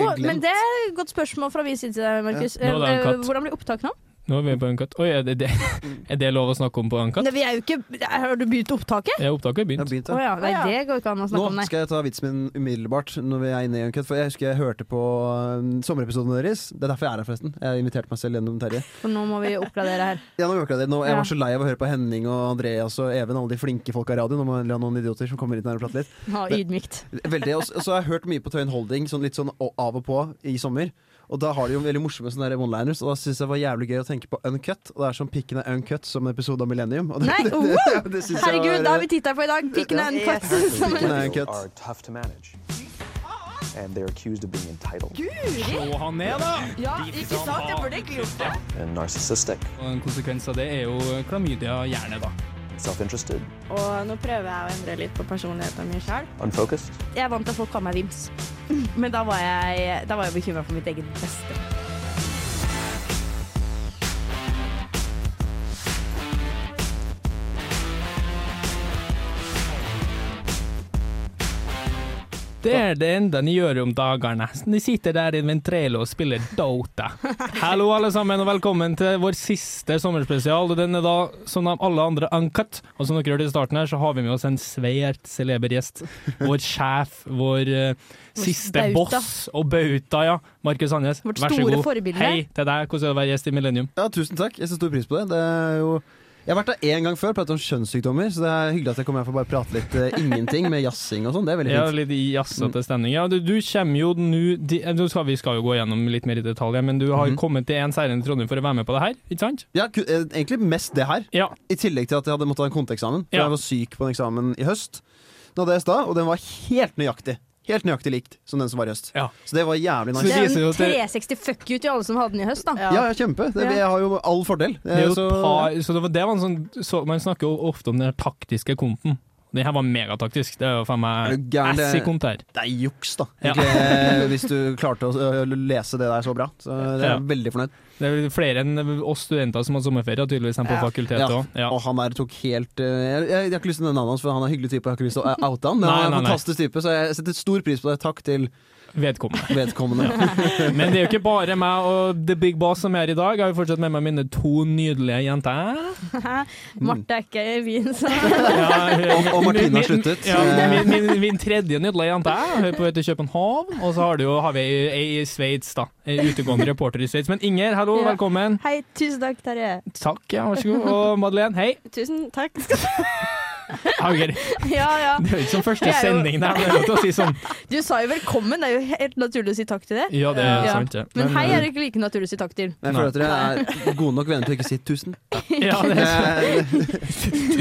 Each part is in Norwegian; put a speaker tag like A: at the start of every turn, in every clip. A: har glemt.
B: men det er et godt spørsmål fra vi side, Markus.
C: Ja. Nå er det en
B: Eh,
C: katt.
B: Hvordan blir opptakene av?
C: Nå er vi på Uncut. Oi, er det, det, er det lov å snakke om på Uncut?
B: Nei, vi er jo ikke Har du begynt opptaket?
C: Ja, opptaket har
A: Jeg har
C: begynt.
A: begynt,
B: Å
A: ja.
B: ja. Nei, det går ikke an å
A: Nå
B: snakke om, nei.
A: skal jeg ta vitsen min umiddelbart, når vi er inne i Uncut. For jeg husker jeg hørte på um, sommerepisoden deres. Det er derfor jeg er her, forresten. Jeg inviterte meg selv gjennom Terje.
B: For nå må vi oppgradere her.
A: Ja, nå gjorde jeg det. Nå, jeg
B: Ja.
A: var så lei av å høre på Henning og Andreas og Even, alle de flinke folka i radioen. Nå må jeg ha noen idioter som kommer hit og prater litt.
B: Ja, ydmykt.
A: Veldig, og så og så har jeg hørt mye på Tøyen Holding sånn, litt sånn o- av og på i sommer. Og da har de jo veldig morsomme sånne der one-liners, og da syns jeg det var jævlig gøy å tenke på Uncut. Og det er som pikken er uncut, som en episode av Millennium. Og det,
B: Nei,
A: det, det,
B: wow!
A: det synes jeg
B: Herregud,
A: var- eh,
B: da har vi tittelen for i dag. Pikken er en
D: Yes.
B: katt. Som en-
A: Pikken er uncut.
E: are tough to manage. And they're accused of being entitled
C: Slå han ned, da!
B: Ja, ikke sant? Jeg burde egentlig gjort det.
E: and narcissistic,
C: Og en konsekvens av det er jo klamydia gjerne, da.
E: self-interested,
D: Og nå prøver jeg å endre litt på personligheten min sjøl.
E: unfocused,
D: Jeg er vant til at folk kaller meg Vims. Men da var jeg, da var jeg bekymra for mitt eget beste.
C: Det er det enda de gjør om dagene. De sitter der i en ventrelo og spiller Dota. Hallo, alle sammen, og velkommen til vår siste sommerspesial. Og den er da, som de alle andre, uncut. Og som dere hørte i starten her, så har vi med oss en svært celeber gjest. Vår sjef, vår eh, siste
B: Vår bauta.
C: boss og bauta, ja. Markus Sandnes,
B: Vårt
C: vær så
B: store
C: god.
B: forbilde.
C: Hei til deg. Hvordan er det å være gjest i Millennium?
A: Ja, tusen takk. Jeg setter stor pris på det. det er jo jeg har vært der én gang før, pratet om kjønnssykdommer. Så det er hyggelig at jeg kommer her for å bare prate litt eh, ingenting med jazzing og sånn. Det er veldig
C: Ja,
A: fint.
C: litt
A: Mm.
C: jazzete stemning. Ja, du, du kommer jo nå di- eh, nå skal, Vi skal jo gå gjennom litt mer i detalj, men du har
A: Mhm.
C: kommet til en seier i Trondheim for å være med på det her, ikke sant?
A: Ja, ku- eh, egentlig mest det her.
C: Ja.
A: I tillegg til at jeg hadde måttet ha en konteeksamen. For
C: Ja.
A: jeg var syk på en eksamen i høst. Den hadde jeg i stad, og den var helt nøyaktig. Helt nøyaktig likt som den som var i høst.
C: Ja.
A: Så det var jævlig nice.
C: Så
B: Det er
C: viser jo
B: jo
C: at det-
B: 360 fuck you til alle som hadde den i høst, da.
A: Ja, ja, kjempe. Det,
B: Ja.
A: jeg har jo all fordel.
C: Det er jo
A: Eh, så,
C: et par, så det var, det var en sånn så, Man snakker jo ofte om den her taktiske kompen. Den her var megataktisk. Det er jo faen
A: Er
C: meg
A: du gæren,
C: ass i
A: det-
C: kont her.
A: det er juks, da.
C: Ja.
A: Egentlig, eh, hvis du klarte å ø, lese det der så bra. Så det er jeg veldig fornøyd.
C: Det er vel flere enn oss studenter som har sommerferie, tydeligvis, enn på fakultetet
A: Ja.
C: òg. Ja.
A: Og han der tok helt eh, jeg, jeg, jeg har ikke lyst til å nevne navnet hans, for han er en hyggelig type. Jeg har ikke lyst til å eh, oute han, men han
C: Nei,
A: er en
C: nei, nei.
A: fantastisk type, så jeg setter stor pris på det. Takk til
C: Vedkommende.
A: vedkommende.
C: Men det er jo ikke bare meg og The Big Boss som er her i dag. Jeg har jo fortsatt med meg mine to nydelige jenter.
B: Marte er ikke i byen, så
C: Ja,
A: Og, og Martine
C: min-
A: har sluttet.
C: Ja,
A: Eh,
C: min, min, min tredje nydelige jente er på vei til København, og så har, du jo, har vi ei i Sveits, da. Ei utegående reporter i Sveits. Men Inger, hallo,
D: Ja.
C: velkommen.
D: Hei, tusen takk, Terje.
C: Takk, ja, vær så god. Og Madeleine, hei.
D: Tusen takk.
C: Hager.
D: Ja, ja.
C: Det er jo ikke som første
D: Jeg er jo-
C: sending der, men det er lov til å si sånn.
D: Du sa jo velkommen, det er jo helt naturlig å si takk til det.
C: Ja, det er
B: Ja.
C: sant, ja.
B: Men hei
C: eh,
B: er det ikke like naturlig å si takk til.
A: Jeg
C: Nei.
A: føler at dere er gode nok venner til å ikke si tusen.
C: Ja, det er
A: Eh,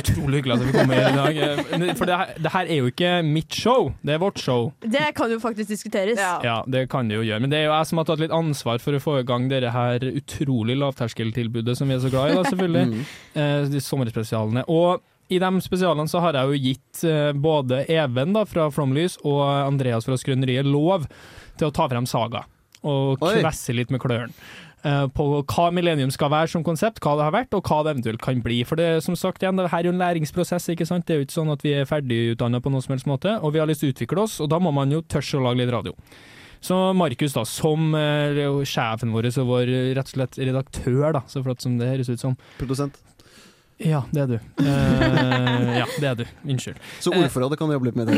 C: utrolig hyggelig at vi kommer i dag. Eh, For det her, det her er jo ikke mitt show, det er vårt show.
B: Det kan jo faktisk diskuteres.
D: Ja.
C: Ja, det kan det jo gjøre. Men det er jo jeg som har tatt litt ansvar for å få i gang dette her utrolig lavterskeltilbudet som vi er så glad i, da, selvfølgelig.
A: Mm.
C: Eh, de sommerspesialene. Og i de spesialene så har jeg jo gitt eh, både Even da, fra Flomlys og Andreas fra Skrøneriet lov til å ta frem Saga. Og
A: Oi.
C: kvesse litt med klørne. eh, På hva Millennium skal være som konsept, hva det har vært og hva det eventuelt kan bli. For det som sagt igjen, det her er jo en læringsprosess, ikke sant. Det er jo ikke sånn at vi er ferdigutdanna på noen som helst måte. Og vi har lyst til å utvikle oss, og da må man jo tørre å lage litt radio. Så Markus, da, som eh, sjefen vår og vår eh, rett og slett redaktør, da, så flott som det høres ut som,
A: Produsent.
C: ja, det er du. Eh, ja, det er du. Unnskyld.
A: Så ordforrådet kan du jobbe litt med. Det.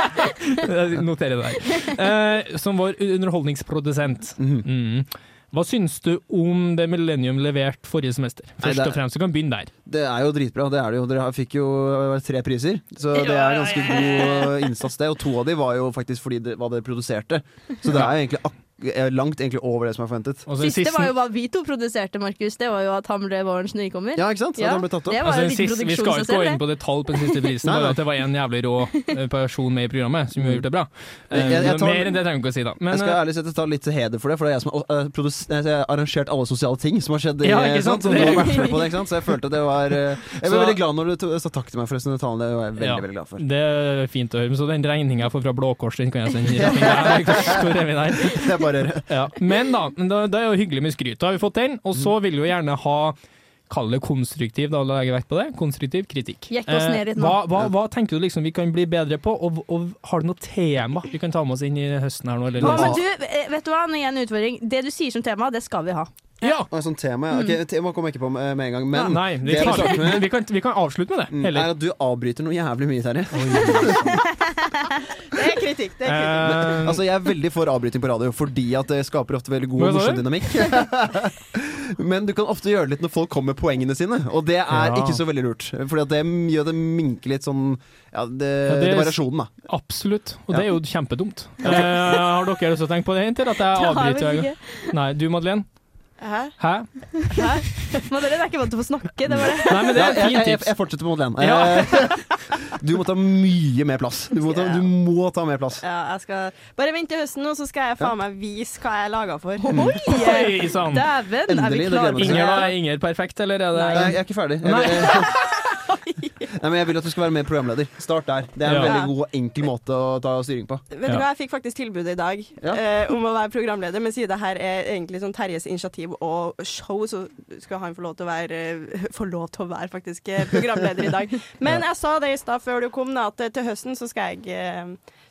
C: Jeg noterer det der. Eh, som vår underholdningsprodusent.
A: Mhm.
C: Mm. Hva syns du om det Millennium leverte forrige semester?
A: Nei,
C: Først
A: det-
C: og fremst, du kan begynne der.
A: det er jo dritbra, det er det jo. Dere har- fikk jo eh, tre priser, så det er ganske god eh, innsats det. Og to av de var jo faktisk fordi det, hva dere produserte. Så det er jo egentlig ak eh, langt egentlig over det som er forventet.
C: Altså, den
B: Siste
C: siste-
B: var jo hva vi to produserte, Markus. Det var jo at han ble vårens nykommer.
A: Ja, ikke sant? At
B: Ja.
A: han ble tatt opp.
B: Det var jo
C: altså, den
B: litt
C: siste, vi skal
B: produksjon i
C: ikke gå
B: seg
C: inn
B: selv.
C: på detalj på den siste prisen,
A: Nei, nei.
C: bare at det var en jævlig rå eh, person med i programmet som gjorde det bra. Eh,
A: Jeg- jeg tar-
C: Mer enn det trenger vi ikke å si, da. Men, eh,
A: jeg skal ærlig sett ta litt til heder for det, for det er jeg som har eh, produs- eh, jeg har arrangert alle sosiale ting som har skjedd. i-
C: Ja, ikke sant?
A: Så, du har vært med på det, ikke sant? så jeg følte det var eh, Jeg ble
C: Så-
A: veldig glad når du to- sa takk til meg, forresten. Det talen, det var jeg veldig,
C: Ja.
A: veldig glad for.
C: eh, det er fint å høre. Men Så den regninga jeg får fra Blå Kors, den kan jeg sende i retning der. Hvor er vi der?
A: Det er bare
B: Mm.
C: Ja. Men da, men da, det er jo hyggelig med skryt. Da har vi fått den, og så vil vi jo gjerne ha Kall det konstruktiv, da legger jeg vekt på det. Konstruktiv kritikk. Eh,
B: Jekk oss ned litt nå.
C: hva, hva, hva tenker du liksom vi kan bli bedre på, og, og har du noe tema vi kan ta med oss inn i høsten her nå? Eller
B: Hva,
C: neste-
B: men du, eh, vet du hva, nå gir jeg en utfordring. Det du sier som tema, det skal vi ha.
C: ja.
A: Og et sånt tema, ja. Ok, tema kommer jeg ikke på med, med en gang, men
C: Nei, vi,
A: det jeg vil
C: tar,
A: starte med,
C: vi, kan, vi kan avslutte med det.
A: mm,
C: Heller.
A: er at du avbryter noe jævlig mye, Terje.
D: Det er kritikk. Det er kritikk.
C: Eh,
A: Altså, jeg er veldig for avbryting på radio, fordi at det skaper ofte veldig god
C: Hva
A: og
C: sa
A: morsom dynamikk. Men du kan ofte gjøre det litt når folk kommer med poengene sine, og det er
C: Ja.
A: ikke så veldig lurt. Fordi at det gjør det minker litt sånn Ja, det,
C: Ja,
A: det
C: det er-
A: er variasjonen, da.
C: absolutt. Og det er jo kjempedumt. Eh, har dere også tenkt på det, Hinter? At jeg
B: Det har
C: avbryter?
B: vi
C: hver gang?
B: ikke.
C: Nei, du Madeleine?
D: Hæ?
C: Hæ?
B: Men dere er ikke vant til å få snakke. Det var det.
C: Nei, men det
A: Ja,
C: er
A: jeg,
C: et
A: jeg,
C: fint
A: jeg,
C: tips.
A: jeg fortsetter med Madeleine.
C: Ja.
A: Eh, Du må ta mye mer plass. Du må ta, du må ta mer plass.
D: Ja, jeg skal Bare vent til høsten nå, så skal jeg faen meg vise hva jeg er laga for.
C: Oi, sann.
D: Dæven, er vi
A: Endelig, det gleder
D: klare for
A: jeg meg
C: Inger, da?
D: det?
C: Er Inger perfekt, eller er det
A: Nei, jeg er ikke ferdig. Jeg,
C: Nei.
A: Nei. Nei, men jeg vil at du skal være med programleder. Start der. Det er en
C: Ja.
A: veldig god og enkel måte å ta styring på.
D: Vet du
C: Ja.
D: hva, jeg fikk faktisk tilbudet i dag
A: Ja.
D: eh, om å være programleder, men siden det her er egentlig sånn Terjes initiativ og show, så skal han få lov til å være, eh, få lov til å være faktisk eh, programleder i dag. Men jeg sa det i stad før du kom, da, at eh, til høsten så skal jeg, eh,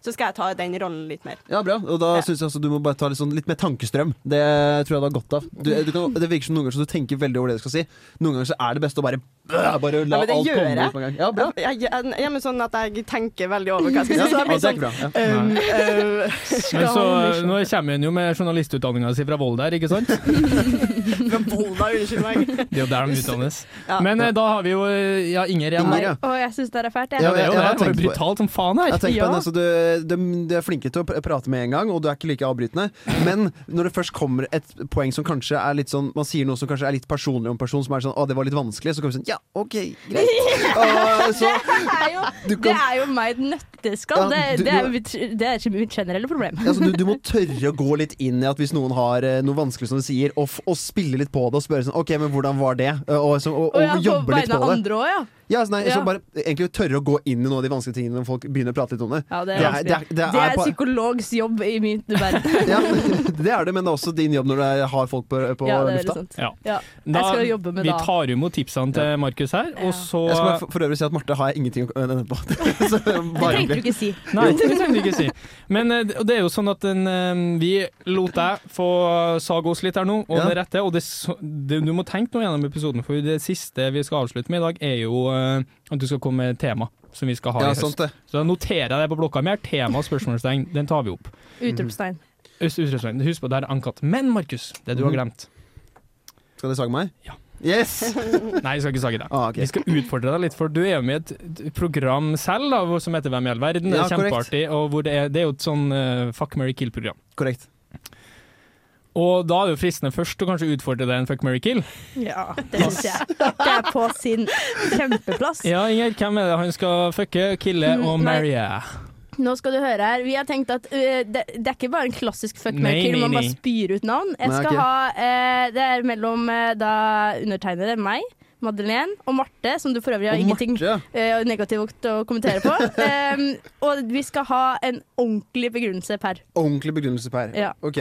D: så skal jeg ta den rollen litt mer.
A: Ja, bra. Og da
D: Ja.
A: synes jeg altså, du må bare ta litt, sånn, litt mer tankestrøm. Det tror jeg du har godt av. Du,
D: Mm.
A: du kan, det virker som noen ganger så du tenker veldig over det du skal si. Noen ganger så er det best å bare, bare la
D: Ja, men det
A: alt komme
D: gjør jeg.
A: ut med en gang. Ja, bra.
D: Jeg, jeg, jeg, jeg, men sånn at jeg tenker veldig over hva jeg skal
A: Ja,
D: si. Så
A: ja,
D: jeg blir
A: det er
D: sånn
A: ikke bra. Ja.
D: Um, um,
C: Men så, nå kommer hun jo med journalistutdanninga si fra Volda her, ikke sant?
D: Fra Volda, unnskyld meg.
C: Det er jo der de utdannes.
D: Ja.
C: Men eh, da har vi jo eh, ja, Inger igjen.
A: Inger, ja.
C: her.
B: Å, jeg syns det her er fælt.
A: Ja,
C: Ja,
B: Jeg.
C: det er jo
A: jeg- jeg
C: det. Det var jo
A: tenkte på-
C: brutalt som faen her.
A: Jeg tenker
B: Ja.
A: på den, altså, du, de, de er flinke til å pr- prate med en gang, og du er ikke like avbrytende. Men når det først kommer et poeng som kanskje er litt sånn Man sier noe som kanskje er litt personlig om personen, som er sånn 'Å, det var litt vanskelig', så kommer vi sånn 'Ja, OK, greit'. Og så
B: Det er jo,
A: du
B: det
A: kan
B: er jo meg et nøtteskall.
A: Ja,
B: Det,
A: du-
B: det er jo mitt, det er ikke mitt generelle problem.
A: altså, du, du må tørre å gå litt inn i at hvis noen har eh, noe vanskelig som de sier, og, f og spille litt på det og spørre sånn 'OK, men hvordan var det?' Og, så- og, og,
B: Å ja, på
A: jobbe litt
B: vegne
A: på
B: av
A: det.
B: andre òg, ja.
A: Ja, altså, nei,
B: Ja.
A: Så bare egentlig tørre å gå inn i noen av de vanskelige tingene når folk begynner å prate litt om det.
B: ja. Det
A: Det
B: er,
A: er- det er-
B: vanskelig.
A: det er
B: det er
A: på-
B: psykologs jobb i min verden.
A: Ja, det er det, men det er også din jobb når du har folk på, på
B: Ja, det er
A: lufta.
B: veldig sant.
C: Ja.
B: Ja.
C: Da,
B: Jeg skal jobbe med
C: vi
B: da.
C: tar imot tipsene til Markus her, og så
A: Jeg skal bare for, for øvrig si at Marte har jeg ingenting å nevne på. Så
B: Det
A: bare
B: trengte
A: hyggelig.
B: du ikke si.
C: Nei, det trenger du ikke si. Men eh, det og det er jo sånn at den, eh, vi lot deg få sage oss litt her nå, og
A: Ja.
C: det rette. Og det, s- det, du må tenke noe gjennom episoden, for det siste vi skal avslutte med i dag, er jo eh, at du skal komme med et tema som vi skal ha
A: Ja, sånn
C: i
A: sant
C: høst.
A: det.
C: Så da noterer jeg det på blokka mi her. Tema og spørsmålstegn, den tar vi opp. Mm.
B: Utropstegn.
C: Øst- Utropstegn. Husk på, det er ankatt. Men Markus, det du har
A: Mhm.
C: glemt
A: Skal dere sage meg?
C: Ja.
A: Yes!
C: Nei, jeg skal ikke sage deg.
A: Ah, ok.
C: Vi skal utfordre deg litt, for du er jo med i et program selv da, hvor- som heter Hvem i all verden.
A: Ja,
C: det er
A: korrekt.
C: kjempeartig. Og hvor det, er, det er jo et sånn eh, fuck, marry, kill-program.
A: Korrekt.
C: Og da er det jo fristende først å kanskje utfordre deg en fuck, marry, kill.
D: Ja.
B: Det syns jeg. Det er på sin kjempeplass.
C: Ja, Inger, hvem er det han skal fucke, kille og
B: Mm, nei.
C: marrye?
B: Nå skal du høre her. Vi har tenkt at øh, det, det er ikke bare en klassisk fuck
C: Nei,
B: marry kill,
C: nei,
B: man bare
C: nei.
B: spyr ut navn. Jeg
A: Nei,
B: skal
A: ok.
B: ha eh, Det er mellom eh, da undertegnede, meg, Madeleine og Marte, som du for øvrig har
A: Og
B: ingenting
A: Marte,
B: eh, negativt å kommentere på. Em, og vi skal ha en ordentlig begrunnelse per.
A: ordentlig begrunnelse på her.
B: Ja.
A: Ok.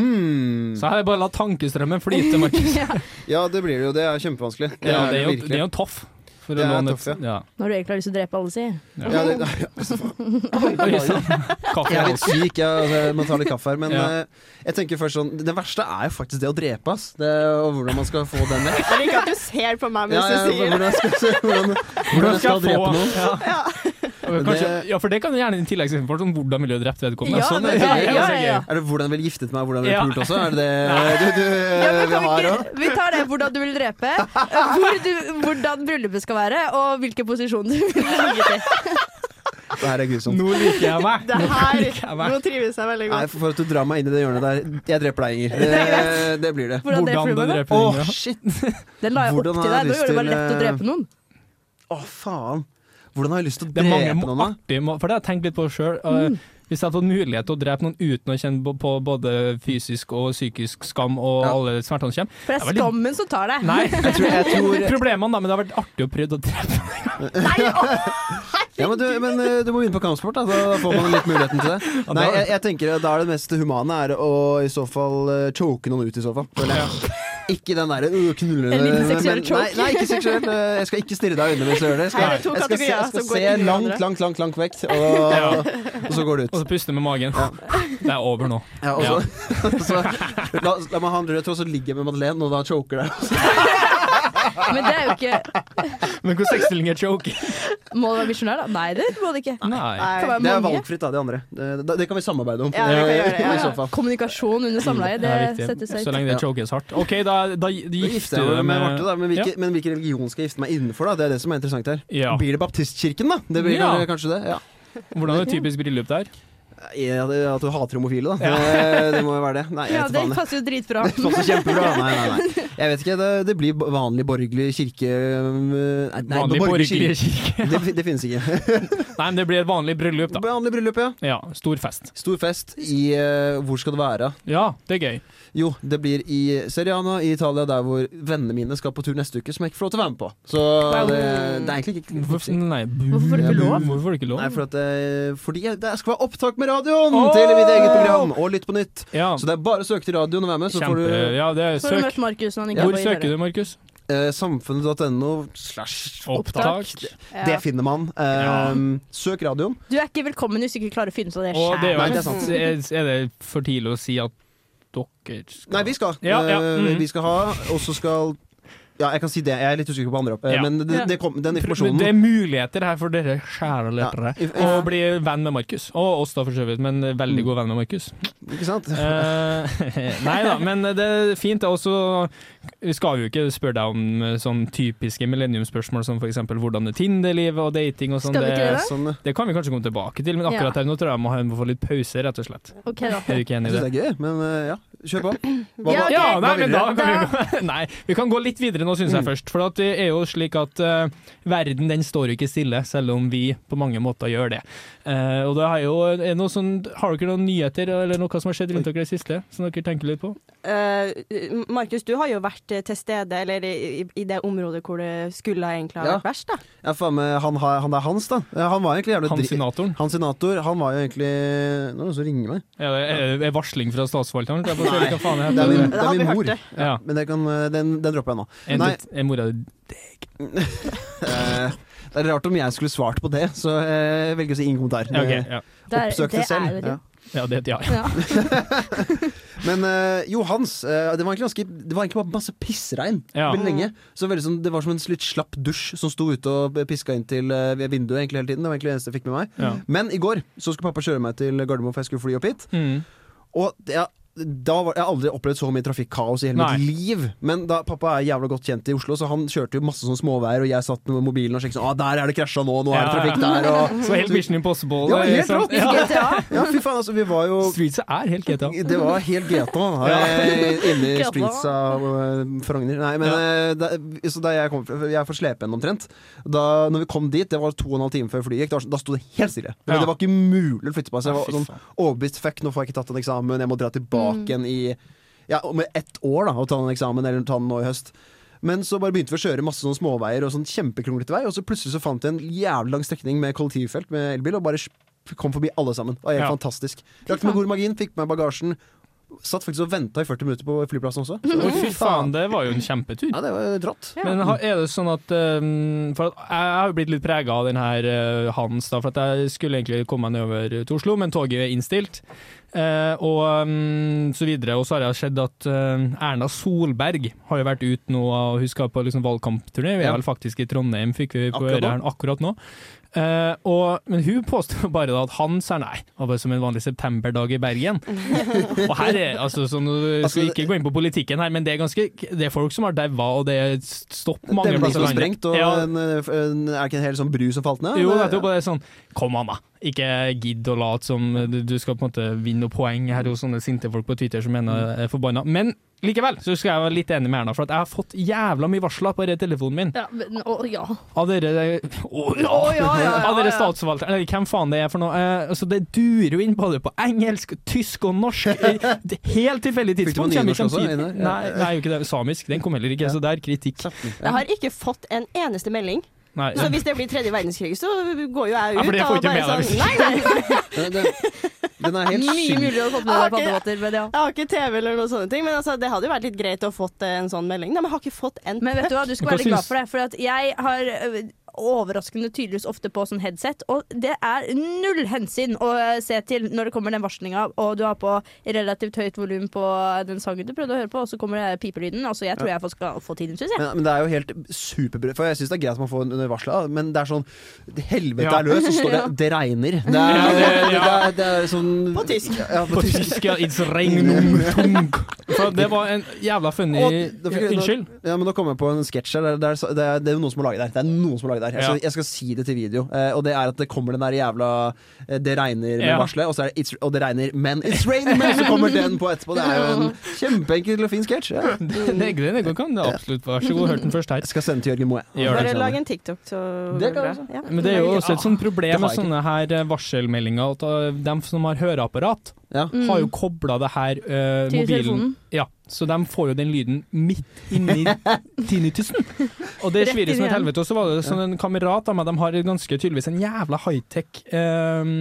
A: Hmm.
C: Så her er det bare å la tankestrømmen flyte, Markus.
B: Ja.
A: Ja, det blir det jo. Det er kjempevanskelig.
C: Ja, det er jo, det
A: virkelig.
C: er jo toff. For
A: Det
C: å
A: er
C: låne
A: toff,
C: et, ja.
B: Når du egentlig har lyst til å drepe alle, si.
A: Ja, det,
C: Oi, sann. Kaffe
A: jeg er
C: og
A: litt syk, jeg, altså, jeg må ta litt kaffe her. Men
C: Ja.
A: eh, jeg tenker først sånn Det verste er jo faktisk det å drepe, ass. Det, og hvordan man skal få den vekk.
D: Jeg liker at du ser på meg
A: Ja, ja,
D: mens du sier det.
A: hvordan, jeg skal, hvordan, hvordan jeg skal drepe noen.
C: Ja.
A: Men
C: Kanskje,
A: det-
C: ja, for det kan du gjerne i tillegg si for sånn hvordan ville du drept vedkommende?
B: Ja,
C: sånn,
B: men-
C: det er
B: ja,
C: jo så
B: ja,
C: gøy.
B: ja.
A: Er det 'hvordan ville giftet meg', 'hvordan ville
C: Ja.
A: pult' også? Er det det du, eh, du,
B: men
A: vi
B: kan vi,
A: har òg?
B: ikke, vi tar det hvordan du vil drepe, hvor du, hvordan bryllupet skal være, og hvilken posisjon du vil ligge til.
A: Det her er grusomt.
C: Nå liker jeg meg.
D: Det
C: Nå
D: her,
C: liker jeg meg.
D: nå trives jeg veldig
A: Nei,
D: godt.
A: for, for at du drar meg inn i det hjørnet der. Jeg dreper deg, Inger. Det, det blir det.
B: Hvordan
C: Hvordan
B: dreper du
C: du
B: meg? da?
C: dreper
A: Åh,
C: hunden, ja.
A: shit!
B: Den la jeg
A: Hvordan
B: opp til
A: har jeg
B: deg. Nå
A: lyst
B: gjorde det bare
A: til,
B: lett å
A: eh,
B: drepe noen.
A: Å, faen. Hvordan har jeg lyst til å
C: Det er mange
A: drepe
C: må-
A: noen, da?
C: artige må- For det har jeg tenkt litt på sjøl. Hvis jeg hadde fått mulighet til å drepe noen uten å kjenne på, på både fysisk og psykisk skam og
A: Ja.
C: alle smertene som kommer
B: For det er
C: Det er veldig-
B: skammen som tar deg.
C: Nei,
A: Jeg tror, jeg tror
C: problemene, da, men det har vært artig å prøve å drepe.
A: ja, men, du, men eh, du må begynne på kampsport, da. Da får man litt muligheten til det. Nei, eh, jeg, jeg tenker at Da er det mest humane er å i så fall eh, choke noen ut, i så fall. Føler jeg. Ikke den derre øh, knullende
B: En
A: men-
B: liten seksuell
A: Nei,
B: choke.
A: nei, ikke seksuelt. øh, Jeg skal ikke stirre deg i øynene mens jeg gjør det. Jeg skal,
D: Her er det to
A: jeg skal, se,
D: kategorier
A: jeg skal
D: som går
A: se
D: inn i
A: langt,
D: hverandre.
A: langt, langt, langt vekk, og, og så går det
C: Og
A: ut.
C: så puste med magen. Det er over nå.
A: Ja, og så, så, la, la meg ha en rød tråd, så ligger jeg med Madeleine, og da choker det.
B: Men det er jo ikke
C: Men hvor sexstilling er choke?
B: Må det være misjonær, da? Nei, det må det ikke. Det
C: Nei.
D: Nei.
B: kan
A: Det
B: være
A: er
B: mange.
A: valgfritt, da, de andre. Det, det kan vi samarbeide om.
D: Ja, det kan vi gjøre, ja,
A: I så
D: ja.
A: fall.
B: Kommunikasjon under samleie, det
C: er viktig.
B: settes
C: Så
B: høyt.
C: lenge det chokes hardt. OK, da, da gifter
A: jeg meg
C: du deg
A: med
C: med
A: Marte, da. Men hvilken men hvilken religion skal jeg gifte meg innenfor? da? Det er det som er interessant her.
C: Ja.
A: Blir det baptistkirken, da? Det blir
C: Ja.
A: kanskje det. Ja. Eh,
C: Hvordan er det typisk bryllup der?
A: Ja, det, at du hater homofile, da. Det, det må jo være det. Nei, jeg
B: Ja,
A: vet
B: det
A: faen. jeg.
B: passer jo dritbra.
A: Det passer kjempebra. Nei, nei, nei. Jeg vet ikke. Det, det blir b- vanlig borgerlig kirke øhm, Nei, nei borgerlig
C: Vanlig borgerlig
A: kirke.
C: kirke.
A: Det, fin- det finnes ikke.
C: Nei, men det blir et vanlig bryllup, da.
A: Vanlig bryllup, ja.
C: Ja, stor fest.
A: Stor fest i øh, Hvor skal det være?
C: Ja, det er gøy.
A: Jo, det blir i Seriana i Italia, der hvor vennene mine skal på tur neste uke, som jeg ikke får lov til å være med på. Så det, det er egentlig ikke
C: Hvorfor, nei,
B: Hvorfor får du ikke lov?
C: Hvorfor får du ikke lov?
A: Nei, for at, eh, fordi jeg- det skal være opptak med radioen
C: Åh!
A: til mitt eget program, og Lytt på nytt.
C: Ja,
A: Så det er bare å søke til radioen og være med, så får
C: kjempe...
A: du
C: Ja, det er
B: Så har du
C: søk.
B: møtt Markus når han ikke
C: Hvor
B: får
C: søker du, Markus?
A: eh, samfunnet.no slash
C: Opptak.
B: Ja.
A: Det finner man. Eh,
C: Ja.
A: Søk radioen.
B: Du er ikke velkommen hvis du ikke klarer å finne ut av det
C: Og det er, jo,
A: Nei,
B: sjæl.
A: det er sant.
C: er- er det for tidlig å si at dere skal
A: Nei, vi skal.
C: Ja, ja,
A: Eh,
C: mhm.
A: Vi skal ha, og så skal Ja, jeg kan si det. Jeg er litt usikker på andre, opp, eh,
C: Ja.
A: men det, det kom, den informasjonen
C: Det er muligheter her for dere kjære lyttere.
A: Ja. Mm.
C: Å bli venn med Markus. Og oss, da, for så vidt, men veldig god venn med Markus.
A: Ikke sant?
C: Eh, nei da, men det er fint. Og så skal vi jo ikke spørre deg om eh, sånn typiske millenniumsspørsmål som f.eks. hvordan er Tinder-livet og dating og sånn.
B: Skal vi ikke det, da?
A: Sånn, eh,
C: det kan vi kanskje komme tilbake til, men akkurat her nå tror jeg må ha- må få litt pause, rett og slett.
B: Ok, da.
C: Er du ikke enig
A: jeg syns
C: i det?
A: det er gøy, men eh, ja. Kjør på. Hva,
B: Ja,
A: hva?
B: ok.
C: Ja, nei,
A: Hva
C: men
A: vil
C: da
A: dere?
C: kan vi gå Nei, vi kan gå litt videre nå, syns jeg
A: Mm.
C: først. For at det er jo slik at eh, verden den står jo ikke stille, selv om vi på mange måter gjør det. Eh, og det er jo er det noe sånn, Har dere noen nyheter eller noe som har skjedd rundt dere i det siste, som dere tenker litt på?
D: Eh, Markus, du har jo vært eh, til stede, eller i, i det området hvor det skulle egentlig ha
A: Ja.
D: vært verst, da.
A: Ja, faen meg, han, har- han der Hans, da. Eh, Han var egentlig jævlig
C: Han
A: dri-
C: senatoren?
A: Han senator, han var jo egentlig Nå er det noen som ringer meg.
C: Er det er det varsling fra statsforvalteren? Jeg bare
A: Nei.
C: ser hva faen det
A: Det er
C: heter.
A: min,
D: Det
A: det
D: har
A: er
D: vi
A: min
D: hørt
A: mor.
D: det.
C: Ja.
A: Men den, kan, eh, den, den dropper jeg nå.
C: Er
A: Nei.
C: det- er mora di
A: Eh, det er rart om jeg skulle svart på det, så eh, jeg velger å si ingen kommentar.
C: ja, ok,
A: Eh,
C: ja.
B: Det er-
A: Oppsøk det selv.
B: Det er det jo.
C: ja, det heter ja.
B: Ja.
A: Men eh, jo, Hans. eh, det, var egentlig ganske, det var egentlig bare masse pissregn
C: Ja.
A: veldig lenge. Så veldig sånn, Det var som en litt slapp dusj som sto ute og piska inn til eh, ved vinduet egentlig hele tiden. Det var egentlig det eneste jeg fikk med meg.
C: ja.
A: Men i går så skulle pappa kjøre meg til Gardermoen, for jeg skulle fly opp hit.
C: Mm.
A: Og det, ja, da var, Jeg har aldri opplevd så mye trafikkaos i hele
C: Nei.
A: mitt liv. Men da, pappa er jævla godt kjent i Oslo, så han kjørte jo masse sånn småveier, og jeg satt med mobilen og sjekket sånn ah, 'Der er det krasja nå, nå er det
C: Ja, ja.
A: trafikk der', og
C: Så helt Mission Impossible.
A: Ja, helt
C: sant?
A: rått.
C: Ja.
B: GTA.
A: Ja, fy faen, altså, vi var jo
C: Streetsa er helt GTA.
A: Det var helt GTA
C: Ja.
A: eh, inne i
B: GTA.
A: streets av eh, Frogner. Nei, men
C: Ja.
A: eh, da, så da jeg kom fra Jeg er fra Slepen omtrent. Da når vi kom dit, det var to og en halv time før flyet gikk, da, da sto det helt stille.
C: Ja.
A: Det var ikke mulig å flytte på seg. Jeg var
C: Fy
A: sånn
C: faen.
A: overbevist fuck, nå får jeg ikke tatt en eksamen, jeg må dra tilbake igjen i Ja, om ett år, da, og ta den eksamen, eller ta den nå i høst. Men så bare begynte vi å kjøre masse sånne småveier og sånn kjempekronglete vei, og så plutselig så fant jeg en jævlig lang strekning med kollektivfelt med elbil, og bare sp- kom forbi alle sammen. Det var helt
C: Ja.
A: fantastisk. Lagt med god margin, fikk med meg bagasjen. Satt faktisk og venta i 40 minutter på flyplassen også. Så-
C: Å, Fy faen, det var jo en kjempetur.
A: Ja, det var rått.
B: Ja.
C: Men ha- er det sånn at um, For at jeg jeg har jo blitt litt prega av den her uh, Hans, da, for at jeg skulle egentlig komme meg nedover til Oslo, men toget er innstilt. eh, og um, så videre. Og så har jeg sett at eh, Erna Solberg har jo vært ute nå, og hun skal på liksom, valgkampturné. Vi er
A: Ja.
C: vel faktisk i Trondheim, fikk vi på
A: Akkurat
C: høre
A: nå.
C: her akkurat nå. Eh, og, men hun påstår jo bare da at Hans er nei. Det var bare som en vanlig septemberdag i Bergen. Og her er, altså, så nå skal vi ikke gå inn på politikken her, men det er ganske Det er folk som har daua, og det er stopp mange
A: Demning
C: plasser
A: som
C: i
A: var
C: landet.
A: sprengt, og
C: ja,
A: en, en, er ikke en hel sånn bru som falt ned?
C: jo,
A: Det-
C: nettopp. Og det er sånn Kom an, da. Ikke gidd å late som du, du skal på en måte vinne noen poeng her hos sånne sinte folk på Twitter som mener jeg er forbanna. Men likevel så skal jeg være litt enig med Erna, for at jeg har fått jævla mye varsler på denne telefonen min.
B: Ja, men, å, ja.
C: Av dere Å, ja!
B: Å, ja, ja, ja,
C: Av dere
B: ja.
C: statsforvaltere, eller hvem faen det er for noe. Eh, altså, det durer jo inn både på engelsk, tysk og norsk. Eh, det- Helt tilfeldig
A: Fikk du på
C: tidspunkt. kommer
A: nynorsk
C: ikke
A: også,
C: samtidig.
A: Einar? Ja.
C: Nei, nei, jo ikke det. Samisk, den kom heller ikke, så det er kritikk.
D: Jeg har ikke fått en eneste melding.
C: Nei.
D: Så hvis det blir tredje verdenskrig, så går jo jeg
C: Ja,
D: ut
C: for det får
D: og
C: ikke
D: bare
C: med deg,
D: sånn Nei, nei!
A: Det, det, Den er helt Ah,
B: Mye
A: syk.
B: mulig å få med deg
D: Ok.
B: paddebåter, men ja.
D: Jeg har ikke TV eller noen sånne ting, men altså, det hadde jo vært litt greit å fått eh, en sånn melding. Nei, men jeg har ikke fått en
B: Men vet du hva, du skal
C: Hva
B: være litt glad
C: syns-
B: for det. For at jeg har ø, overraskende tydeligvis ofte på sånn headset, og det er null hensyn å ø, se til når det kommer den varslinga, og du har på relativt høyt volum på den sangen du prøvde å høre på, og så kommer det pipelyden. Altså, jeg tror jeg får- skal få tiden, syns jeg.
A: Men, men det er jo helt superbra For jeg syns det er greit at man får en varsel, da, men det er sånn Helvete
C: Ja.
A: er løs, så står det 'det regner'. Det er,
C: Ja,
A: det,
C: det- ja.
A: er, det er sånn
D: På tysk.
A: Ja, på
C: På
A: tysk.
C: tysk, ja. It's regnum tung. Så det var en jævla funny
A: Og da fikk jeg-
C: Unnskyld?
A: Ja, men Nå kom jeg på en sketsj her. Det er, det, er, det, er, det er jo noen som har laget det her. Det er noen som har laget det her. Jeg, skal,
C: Ja.
A: jeg skal si det til video. Eh, og det er at det kommer den der jævla eh, 'det regner' med
C: Ja.
A: varselet, og så er det it's, 'og det regner, men it's raining', men så kommer den på etterpå. Det er jo en kjempeenkel og fin sketsj. Ja.
C: Det, det, det kan det absolutt Vær så god, hørte den først her.
A: Jeg skal sende til Jørgen Moe.
C: Gjør det. sånn,
D: Bare lag en TikTok, så
A: Det kan
D: går
A: jeg
D: bra. Ja.
C: Men det er jo også et sånt
A: Det
C: problem
A: har
C: med
A: jeg ikke.
C: sånne her eh, varselmeldinger at eh, dem som har høreapparat,
A: Ja.
C: har jo kobla det her eh,
B: Mm. Til
C: mobilen.
B: telefonen.
C: Ja, så de får jo den lyden midt inni tinnitusen. Og det
B: Rett
C: svirer
B: inn
C: som et
B: igjen.
C: helvete. Og så var det sånn en kamerat av meg, de har ganske tydeligvis en jævla high-tech eh,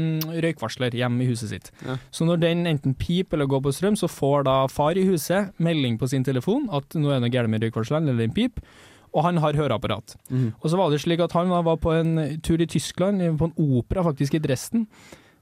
C: røykvarsler hjemme i huset sitt.
A: Ja.
C: Så når den enten piper eller går på strøm, så får da far i huset melding på sin telefon at nå er det noe galt med røykvarsleren, eller den piper, og han har høreapparat.
A: Mhm.
C: Og så var det slik at han var på en tur i Tyskland, på en opera faktisk i Dresden.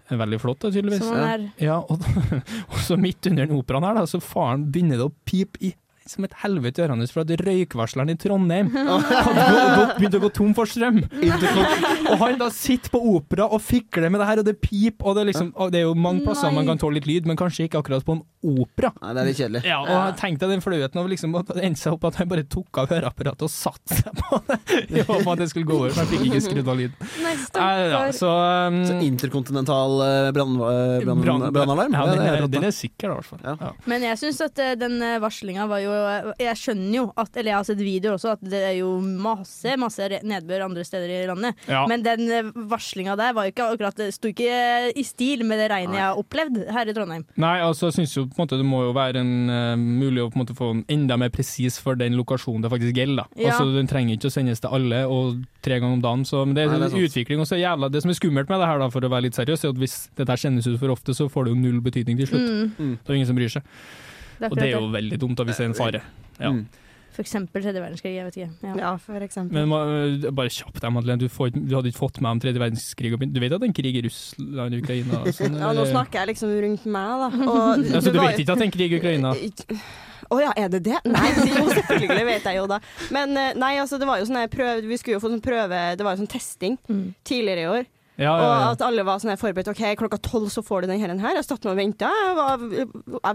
C: Veldig flott da, tydeligvis.
B: Som man er
C: Ja, og, og så midt under den operaen her, da, så faren begynner det å pipe i som et helvete i ørene hans for at røykvarsleren i Trondheim hadde gå- gått- begynt å gå tom for strøm. Og han da sitter på opera og fikler med det her, og det pip, og det er liksom og Det er jo mange plasser man
B: Nei.
C: kan tåle litt lyd, men kanskje ikke akkurat på en opera.
A: Nei, det er litt kjedelig.
C: Ja, og jeg tenkte den flauheten av liksom at det endte seg opp at han bare tok av høreapparatet og satte seg på det i håp at det skulle gå over, men jeg fikk ikke skrudd av lyden.
B: Nei,
C: Nei,
B: stakkar.
C: ja, så, um,
A: Så interkontinental eh, brann- eh, brann-
C: brann-
A: brannalarm?
C: Ja, den
A: det
C: er,
A: rått, da.
C: den er sikker, da, i hvert fall.
A: Ja.
C: Ja.
B: Men jeg syns at eh, den eh, varslinga var jo Jeg skjønner jo at Eller jeg har sett videoer også, at det er jo masse, masse re- nedbør andre steder i landet.
C: Ja.
B: Men den eh, varslinga der var jo ikke akkurat Det sto ikke eh, i stil med det regnet jeg har opplevd her i Trondheim.
C: Nei, altså jeg synes jo på en måte det må jo være en, eh, mulig å på en måte få en enda mer presis for den lokasjonen det faktisk gjelder. da.
B: Ja.
C: Altså Den trenger ikke å sendes til alle og tre ganger om dagen. Så, men det er,
A: Nei, det er
C: en
A: sant.
C: utvikling. Og så er jævla, det som er skummelt med det her, da, for å være litt seriøs, er at hvis dette her sendes ut for ofte, så får det jo null betydning til slutt.
B: Mm,
C: Det er jo ingen som bryr seg.
B: det er
C: Og det er
B: akkurat
C: jo veldig dumt da, hvis det er en fare. Ja.
A: Mm.
B: det. For eksempel tredje verdenskrig, jeg vet ikke. Ja.
D: ja, for eksempel.
C: Men må- bare kjapt deg, Madeleine. Du, får, du hadde ikke fått med om tredje verdenskrig. og- Du vet at det er en krig i Russland og Ukraina? og Sånn,
D: Ja, nå
C: eller?
D: snakker jeg liksom rundt meg, da. Og
C: Ja, så
D: det
C: du
D: var
C: vet
D: jo-
C: ikke at det er en krig i Ukraina?
D: Eh, Å ja, er det det? Nei, jo, selvfølgelig vet jeg jo da. Men eh, nei, altså, det var jo sånn her prøve Vi skulle jo få sånn prøve Det var jo sånn testing
B: Mm.
D: tidligere i år.
C: Ja, Ah, ja,
D: Og
C: ja.
D: at alle var sånn her forberedt. OK, klokka tolv så får du den her. den her. Jeg satt nå og venta. Jeg, var- jeg,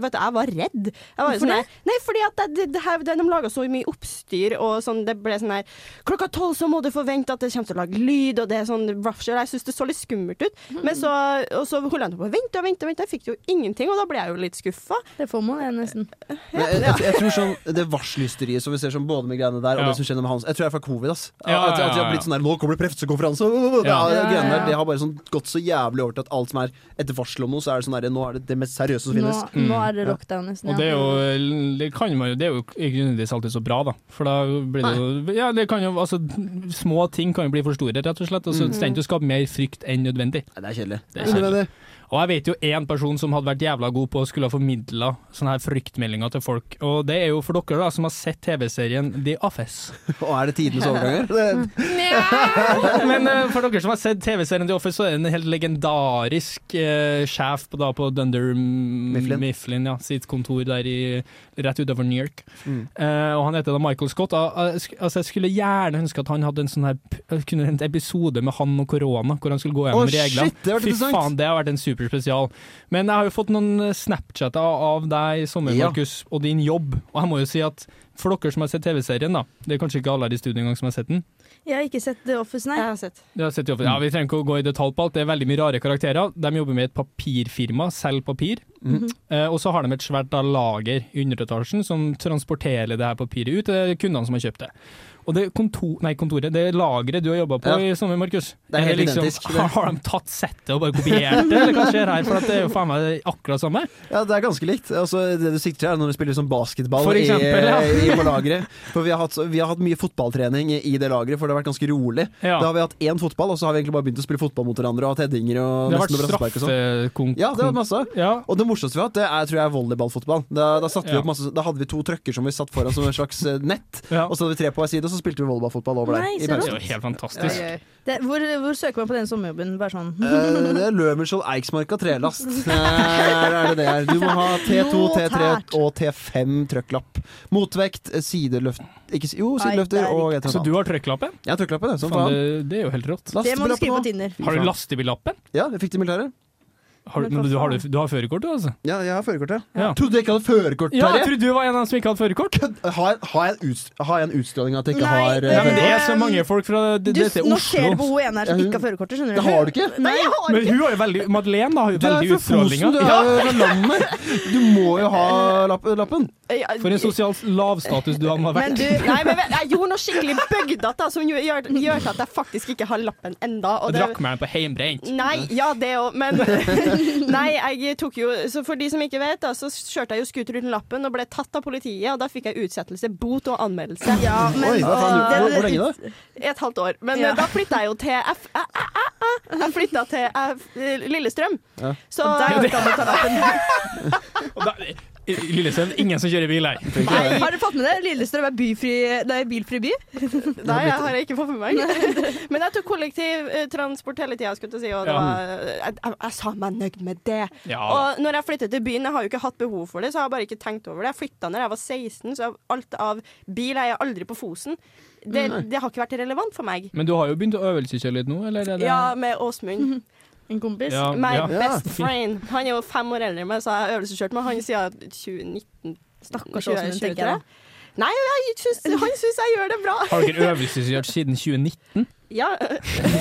D: vet- jeg var redd. Jeg
B: Hvorfor
D: var jo sånn her, Nei, fordi at det, det, det her, det, de laga så mye oppstyr, og sånn, det ble sånn her Klokka tolv så må du forvente at det kommer til å lage lyd, og det er sånn rusher. Jeg syns det så litt skummelt ut. Men så, og så holdt jeg på å vente og vente, og vente. jeg fikk jo ingenting, og da ble jeg jo litt skuffa.
B: Det får man, det, nesten.
A: Men Jeg, jeg, jeg tror sånn Det varslysteriet som vi ser sånn både med greiene der og
C: Ja.
A: det som skjer med Hans Jeg tror det er fra covid. ass
C: Ja, ja,
A: At, at de har
C: ja,
A: blitt
C: ja.
A: sånn der Nå kommer det pressekonferanse! øh, øh, øh, det er-
C: Ja.
A: greiene
B: Ja, ja,
A: der,
B: ja.
A: Det har bare sånn gått så jævlig over til at alt som er et varsel om noe, så er det sånn der Nå er det det mest seriøse som
B: Nå,
A: finnes.
B: nå er det lockdown, nesten.
C: Og det er jo, det kan man jo, det er jo ikke nødvendigvis alltid så bra, da. For da blir det jo Ja, det kan jo altså Små ting kan jo bli for store, rett og slett. Altså, Og så trenger du å skape mer frykt enn nødvendig.
A: Nei, det er kjedelig.
C: Det er kjedelig. Og jeg vet jo én person som hadde vært jævla god på å skulle ha formidla sånne her fryktmeldinger til folk. Og det er jo for dere da som har sett TV-serien The Office.
A: Og er det tidenes overganger? Det,
C: Men eh, for dere som har sett TV-serien The Office, så er det en helt legendarisk eh, sjef på, da, på Dunder
A: Mifflin.
C: Mifflin, Mifflin ja, sitt kontor der i, rett utenfor New York.
A: Mm.
C: Eh, og han heter da Michael Scott. Ah, ah, sk- altså, jeg skulle gjerne ønske at han hadde en sånn her p- kunne en episode med han og korona, hvor han skulle gå gjennom
A: Å,
C: reglene.
A: shit, det har vært
C: Fy
A: interessant.
C: faen, det har vært en superspesial. Men jeg har jo fått noen eh, Snapchatter av deg i sommer,
A: Ja.
C: Markus, og din jobb. Og jeg må jo si at for dere som har sett TV-serien, da det er kanskje ikke alle her i studio engang som har sett den.
B: Jeg har ikke sett The Office, nei.
D: Jeg har sett.
C: Du har sett Jobb- Ja, Vi trenger ikke å gå i detalj på alt, det er veldig mye rare karakterer. De jobber med et papirfirma, selger papir.
A: Mhm.
C: Eh, og så har de et svært da, lager i underetasjen som transporterer det her papiret ut til kundene som har kjøpt det. Og det, kontor, nei, kontoret, det lageret du har jobba på
A: Ja.
C: i sommer, Markus
A: Det er helt
C: liksom,
A: identisk, det.
C: Har, har de tatt settet og bare kopiert det, eller hva skjer her? For at det er jo faen meg akkurat samme.
A: Ja, det er ganske likt. Altså, det du sikter til er når du spiller som basketball
C: For eksempel,
A: i,
C: ja.
A: i, på lageret. For vi har, hatt, vi har hatt mye fotballtrening i i det lageret, for det har vært ganske rolig.
C: Ja.
A: Da har vi hatt én fotball, og så har vi egentlig bare begynt å spille fotball mot hverandre og hatt headinger og
C: Det har
A: nesten
C: vært
A: noe brassespark og sånn.
C: straffekonk...
A: Ja, det har vært masse.
C: ja,
A: Og det morsomste vi har hatt, det er tror jeg volleyballfotball. Da, da, satte vi
C: Ja.
A: opp masse, da hadde vi to trøkker som vi satt foran som en slags eh, nett,
C: ja.
A: og så hadde vi tre på hver side, og så spilte vi volleyballfotball over der.
B: Nei,
A: i
B: så
C: Det
A: pausen.
C: er jo helt fantastisk.
B: Det, hvor, hvor søker man på den sommerjobben? Bare sånn.
A: Eh, det er Løvenskiold, Eiksmarka, trelast. Der er det det er. Du må ha T2, T3 og T5 trøkklapp. Motvekt, eh, sideløft ikke, si- Jo,
B: Nei, det
A: sideløfter
B: er
A: og jeg tar
C: Så
A: den av.
C: du har trøkklappen?
A: Jeg har trøkklappen, jeg. Som
C: Faen,
A: faen.
C: det, det er jo helt rått.
B: Det må du skrive
A: Lastebillappen også.
B: på Tinder.
C: Har du
A: Fy faen.
C: lastebillappen?
A: Ja, jeg fikk det i militæret.
C: Har, du-
B: Men hva
C: men du, har,
B: faen?
C: du, du har førerkort, du, altså?
A: Ja, jeg har førerkort, ja.
C: Ja.
A: Trodde jeg ikke hadde førerkort,
C: Ja, jeg
A: Terje!
C: trodde du var en av dem som ikke hadde førerkort.
A: Kødd! Har jeg- har jeg en utst- har jeg en utstråling at jeg ikke
B: Nei,
A: har
B: det-
C: Nei,
A: eh,
C: men det er så mange folk fra det,
B: Du,
C: dette er
B: nå ser du på
C: Oslo.
B: hun ene her som ikke har førerkortet, skjønner du.
A: Det har du ikke?
B: Nei, jeg har
C: Men hun har jo veldig Madeleine da, har jo veldig utstrålinga.
A: du
C: Ja,
A: er jo fra landet! Du må jo ha lapp, lappen.
D: Ja,
C: for en sosial lavstatus du har
D: Men
C: vært.
D: du, nei, men vet- jeg gjorde noe skikkelig bøgdata som jo gjør, gjør til at jeg faktisk ikke har lappen enda. Og
C: Jeg
D: det,
C: drakk meg på heimbrent.
D: Nei, ja det òg, men Nei, jeg tok jo Så for de som ikke vet, da, så kjørte jeg jo scooter uten lappen og ble tatt av politiet, og da fikk jeg utsettelse, bot og anmeldelse.
B: Ja, men eh,
A: Oi, hva faen,
B: det-
A: hvor, hvor lenge da?
D: I et halvt år. Men
B: Ja.
D: eh, da flytta jeg jo til F... æ, æ, æ, æ. Jeg flytta til eh, Lillestrøm.
A: Ja.
D: Så
B: Der orka han å ta lappen.
C: Og da- I- i Lillesund, ingen som kjører bil her.
B: Nei, Har du fått med det? Lillestrøm er byfri, det er bilfri by.
D: Nei, jeg har jeg ikke fått med meg. Men jeg tok kollektivtransport hele tida, skulle jeg til å si, og det
C: Ja.
D: var, jeg, jeg, jeg sa meg nøyd med det.
C: Ja.
D: Og når jeg flyttet til byen, jeg har jo ikke hatt behov for det, så jeg har bare ikke tenkt over det. Jeg flytta når jeg var 16, så alt av bil Jeg er aldri på Fosen. Det, det har ikke vært relevant for meg.
C: Men du har jo begynt å øvelseskjøre litt nå, eller? Er det?
D: Ja, med Åsmund.
B: En kompis.
C: Ja,
D: My
C: ja.
D: best friend. Han er jo fem år eldre enn meg, så jeg har øvelseskjørt med han siden 2019.
B: Stakkars Åsmund, tenker jeg.
D: Nei, jeg syns, han syns jeg gjør det bra.
C: Har dere øvelseskjørt siden 2019?
D: Ja,